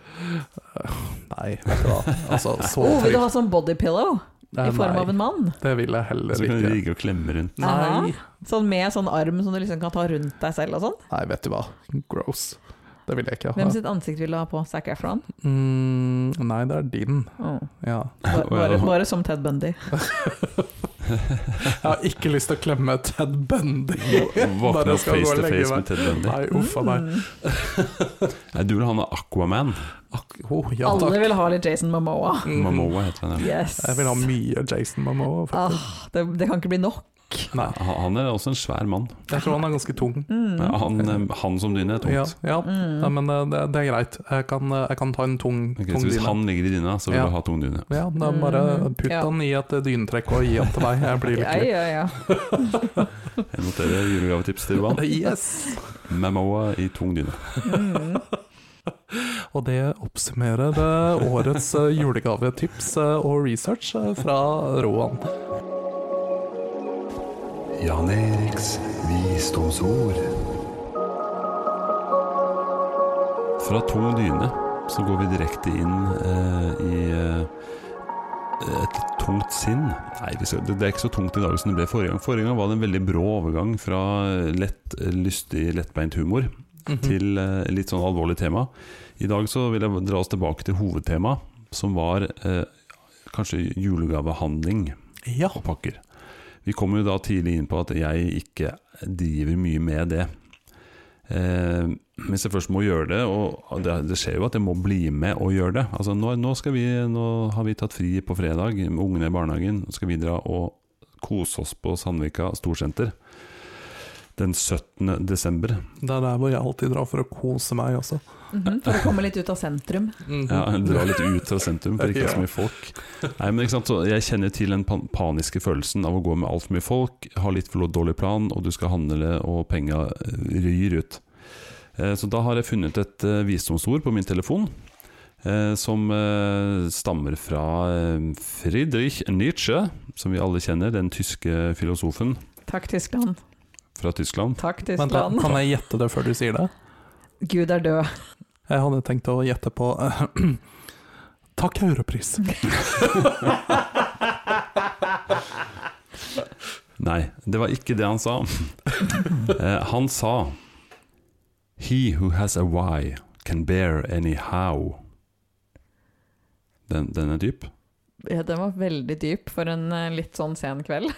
S3: Nei, vet du hva. Altså, så
S2: Oh, vil du ha
S3: trygt.
S2: sånn bodypillow i form av
S3: Nei,
S2: en mann?
S3: det vil jeg
S1: så
S3: heller
S1: kan du
S3: ikke.
S1: ligge og klemme rundt.
S3: Nei,
S2: Sånn med sånn arm som du liksom kan ta rundt deg selv og sånn?
S3: nei vet du hva. Gross. Det vil jeg ikke ha.
S2: Hvem sitt ansikt vil du ha på Zac Efron?
S3: Mm, nei, det er din.
S2: Oh.
S3: Ja.
S2: Bare,
S1: Å, ja.
S2: bare, bare som Ted Bundy.
S3: Jeg har ikke lyst til å klemme Ted Bundy.
S1: Våkne
S3: Bare
S1: opp
S3: skal gå
S1: face
S3: og
S1: to
S3: legge
S1: face
S3: meg.
S1: med Ted Bundy.
S3: Nei, uff a meg.
S2: Mm.
S1: Nei, du vil ha noe Aquaman.
S3: Ak oh, ja,
S2: Mm. Alle
S3: takk.
S2: vil ha litt Jason Momoa.
S3: Mhm.
S1: Mamoa heter han. ja.
S2: Yes.
S3: Jeg vil ha mye Jason Momoa. faktisk.
S2: Ah, det, det kan ikke bli nok.
S3: Nei,
S1: Han han er også en svær mann.
S3: jeg tror han er ganske tung.
S2: Mm.
S1: Ja, han, eh, han som dyne er tungt.
S3: Mhm. Ja, ja.
S2: Mm.
S3: Nei, men eh, det, det er greit. Jeg kan, eh, jeg kan ta en tung,
S1: Ok,
S3: tung
S1: så hvis
S3: dyne.
S1: han ligger i dyna, så vil
S3: Ja.
S1: du ha tung dyne.
S3: Ja, da bare
S2: Mhm.
S3: putt
S2: Ja.
S3: han i et eh, dynetrekk og gi han til meg. Jeg blir
S2: Ja,
S3: lykkelig.
S2: ja, ja.
S1: Jeg noterer julegavetips til Johan.
S3: Yes!
S1: Mamoa i tung dyne.
S2: Mm.
S3: Og det oppsummerer eh, årets eh, julegavetips eh, og research eh, fra Roan.
S1: Jan Eriks visdomsord. Fra tung dyne så går vi direkte inn eh, i eh, et tungt sinn. Nei, vi skal, det, det er ikke så tungt i dag som det ble forrige gang. Forrige gang var det en veldig brå overgang fra lett, lystig, lettbeint humor
S3: Mhm.
S1: til eh, litt sånn alvorlig tema. I dag så vil jeg dra oss tilbake til hovedtema, som var eh, kanskje julegavehandling
S3: Ja.
S1: og pakker. Vi kom jo da tidlig inn på at jeg ikke driver mye med det. Eh, hvis jeg først må gjøre det, og det, det skjer jo at jeg må bli med og gjøre det Altså nå, nå, skal vi, nå har vi tatt fri på fredag med ungene i barnehagen, så skal vi dra og kose oss på Sandvika storsenter. Den 17. desember.
S3: Det er der hvor jeg alltid drar for å kose meg også.
S2: Mhm, For å komme litt ut av sentrum.
S1: Ja, Dra litt ut fra sentrum, for det ikke er så mye folk. Nei, men ikke sant? Så jeg kjenner til den pan paniske følelsen av å gå med altfor mye folk, ha litt for dårlig plan, og du skal handle og penga eh, ryr ut. Eh, Så da har jeg funnet et eh, visdomsord på min telefon. eh, Som eh, stammer fra eh, Friedrich Nietzsche, som vi alle kjenner, den tyske filosofen
S2: Takk, Tyskland.
S1: fra Tyskland.
S2: Takk,
S3: Vent, da,
S2: Tyskland.
S3: kan jeg gjette det før du sier det?
S2: Gud er død.
S3: Jeg hadde tenkt å gjette på eh, Takk Europris.
S1: Nei, det var ikke det han sa. Eh, han sa He who has a why can bear any how. Den, den er dyp.
S4: Ja, den var veldig dyp for en eh, litt sånn sen kveld.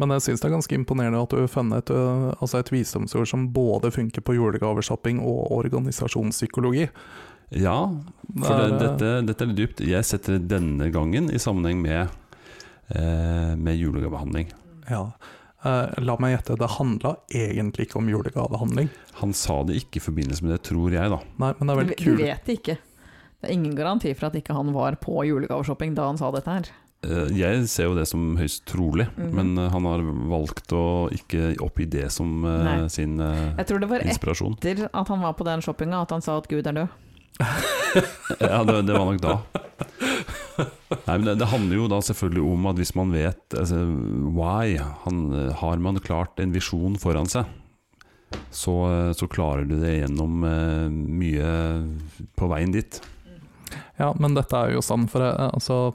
S3: Men jeg syns det er ganske imponerende at du har funnet et, ø, altså et visdomsord som både funker på julegaveshopping og organisasjonspsykologi. Eh,
S1: Ja,
S3: Det
S1: for
S3: er,
S1: det,
S3: ø,
S1: dette, dette er litt dypt. Jeg setter det denne gangen i sammenheng med, eh, med julegavehandling.
S3: ja. Eh, La meg gjette, det handla egentlig ikke om julegavehandling.
S1: Han sa det ikke i forbindelse med det, tror jeg, da.
S3: Nei, men det er
S4: Du,
S3: veldig
S4: du
S3: kult.
S4: vet det ikke. Det er ingen garanti for at ikke han var på julegaveshopping da han sa dette her.
S1: Eh, Jeg ser jo det som høyst trolig,
S4: Mhm.
S1: men eh, han har valgt å ikke oppgi det som eh,
S4: Nei.
S1: sin eh,
S4: Jeg tror det var
S1: inspirasjon.
S4: etter at han var på den shoppinga at han sa at Gud er død.
S1: Ja, det, det var nok da. Nei, men det, det handler jo da selvfølgelig om at hvis man vet altså, why, han, har man klart en visjon foran seg, så, så klarer du det gjennom eh, mye på veien dit.
S3: Ja, men dette er jo sant, for eh, altså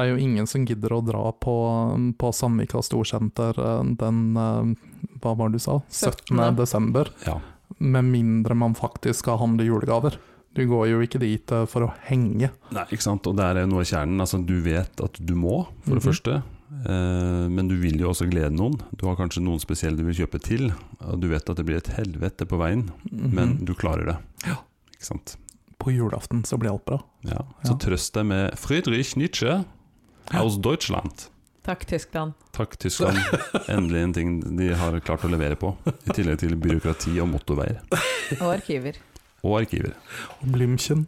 S3: det er jo ingen som gidder å dra på, på Sandvika Storsenter eh, den eh, Hva var det du sa? 17.
S4: 17.
S3: desember.
S1: Ja.
S3: Med mindre man faktisk skal handle julegaver. Du går jo ikke dit eh, for å henge.
S1: Nei, ikke sant? Og der er noe av kjernen. Altså, du vet at du må, for det
S3: Mhm.
S1: første. Eh, men du vil jo også glede noen. Du har kanskje noen spesielle du vil kjøpe til. Og du vet at det blir et helvete på veien,
S3: Mhm.
S1: men du klarer det. Ikke sant?
S3: På julaften så blir alt bra.
S1: Ja. Så
S3: Ja.
S1: trøst deg med Friedrich Nietzsche aus Deutschland.
S4: Takk, Tyskland.
S1: Takk, Tyskland. Endelig en ting de har klart å levere på. I tillegg til byråkrati og motorveier.
S4: Og arkiver.
S1: Og arkiver.
S3: Og Blümchen.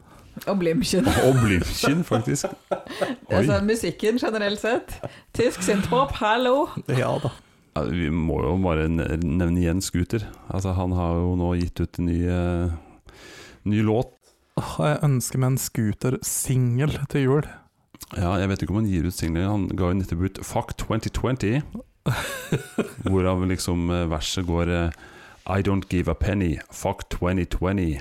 S4: Og Blimchen.
S1: Og Blümchen, faktisk. Oi.
S4: Altså musikken generelt sett. Tysk synthpop, hallo!
S3: Ja da.
S1: Ja, Vi må jo bare ne- nevne igjen Scooter. Altså, han har jo nå gitt ut en ny, eh, ny låt.
S3: Åh, Jeg ønsker meg en scooter-singel til jul.
S1: Ja, jeg vet ikke om han gir ut singler. Han ga jo nettopp ut Fuck 2020, hvorav liksom eh, verset går eh, I don't give a penny, fuck 2020.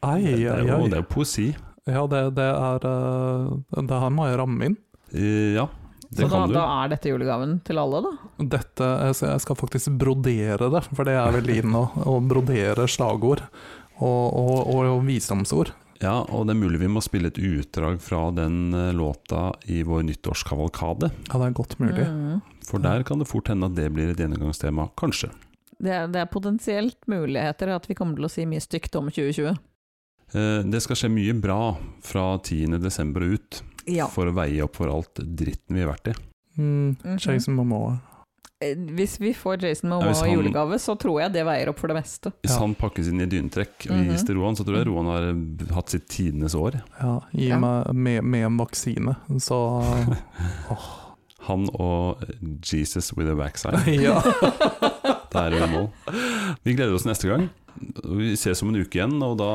S3: Ai,
S1: Det er
S3: ai,
S1: jo, det
S3: ai.
S1: er jo poesi.
S3: Ja, det, det er eh, Det her må jeg ramme inn.
S1: Eh, Ja,
S4: Så
S1: det
S4: da,
S1: kan du.
S4: da er dette julegaven til alle, da?
S3: Dette, jeg skal- jeg skal faktisk brodere det, for det er veldig inn å, å brodere slagord og, og, og visdomsord.
S1: Ja, og det er mulig vi må spille et utdrag fra den eh, låta i vår nyttårskavalkade.
S3: Ja, det er godt mulig.
S4: Mm.
S1: For der kan det fort hende at det blir et gjennomgangstema, kanskje.
S4: Det, er- det er potensielt muligheter at vi kommer til å si mye stygt om 2020.
S1: Eh, Det skal skje mye bra fra 10. desember og ut,
S4: Ja.
S1: for å veie opp for alt dritten vi har vært i.
S3: Mm,
S4: Mhm.
S3: Jason Momoa.
S4: Eh, Hvis vi får Jason
S1: Ja,
S4: Momoa
S1: hvis han-
S4: julegave, så tror jeg det veier opp for det meste.
S1: Hvis
S3: Ja.
S1: han pakkes inn i dyntrekk og
S4: Mhm.
S1: gis til Roan, så tror jeg Roan har eh, hatt sitt tidenes år.
S3: Ja, gi
S4: Ja.
S3: meg med, med en vaksine, så
S1: Han og eh, Jesus with a backside.
S3: Ja.
S1: Det er jo mål. Vi gleder oss neste gang. Vi ses om en uke igjen, og da,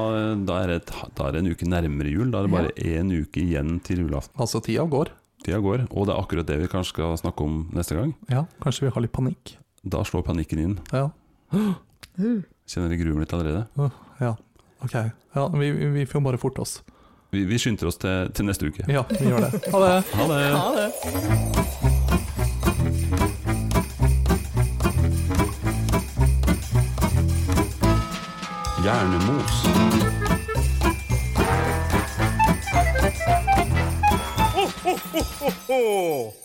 S1: da, er, det et, da er det en uke nærmere jul. Da er det bare én uke igjen til julaften.
S3: Altså, tida går.
S1: Tida går, og det er akkurat det vi kanskje skal snakke om neste gang.
S3: Ja, kanskje vi har litt panikk.
S1: Da slår panikken inn.
S3: Ja,
S1: Kjenner jeg gruer meg litt allerede.
S3: ja. ok. Ja, vi, vi vi får bare forte oss.
S1: Vi, vi skynder oss til, til neste uke.
S3: Ja, vi gjør det. Ha det!
S1: Ha det!
S4: Ha det!
S1: Hjernemos.
S5: ho, ho, ho, ho.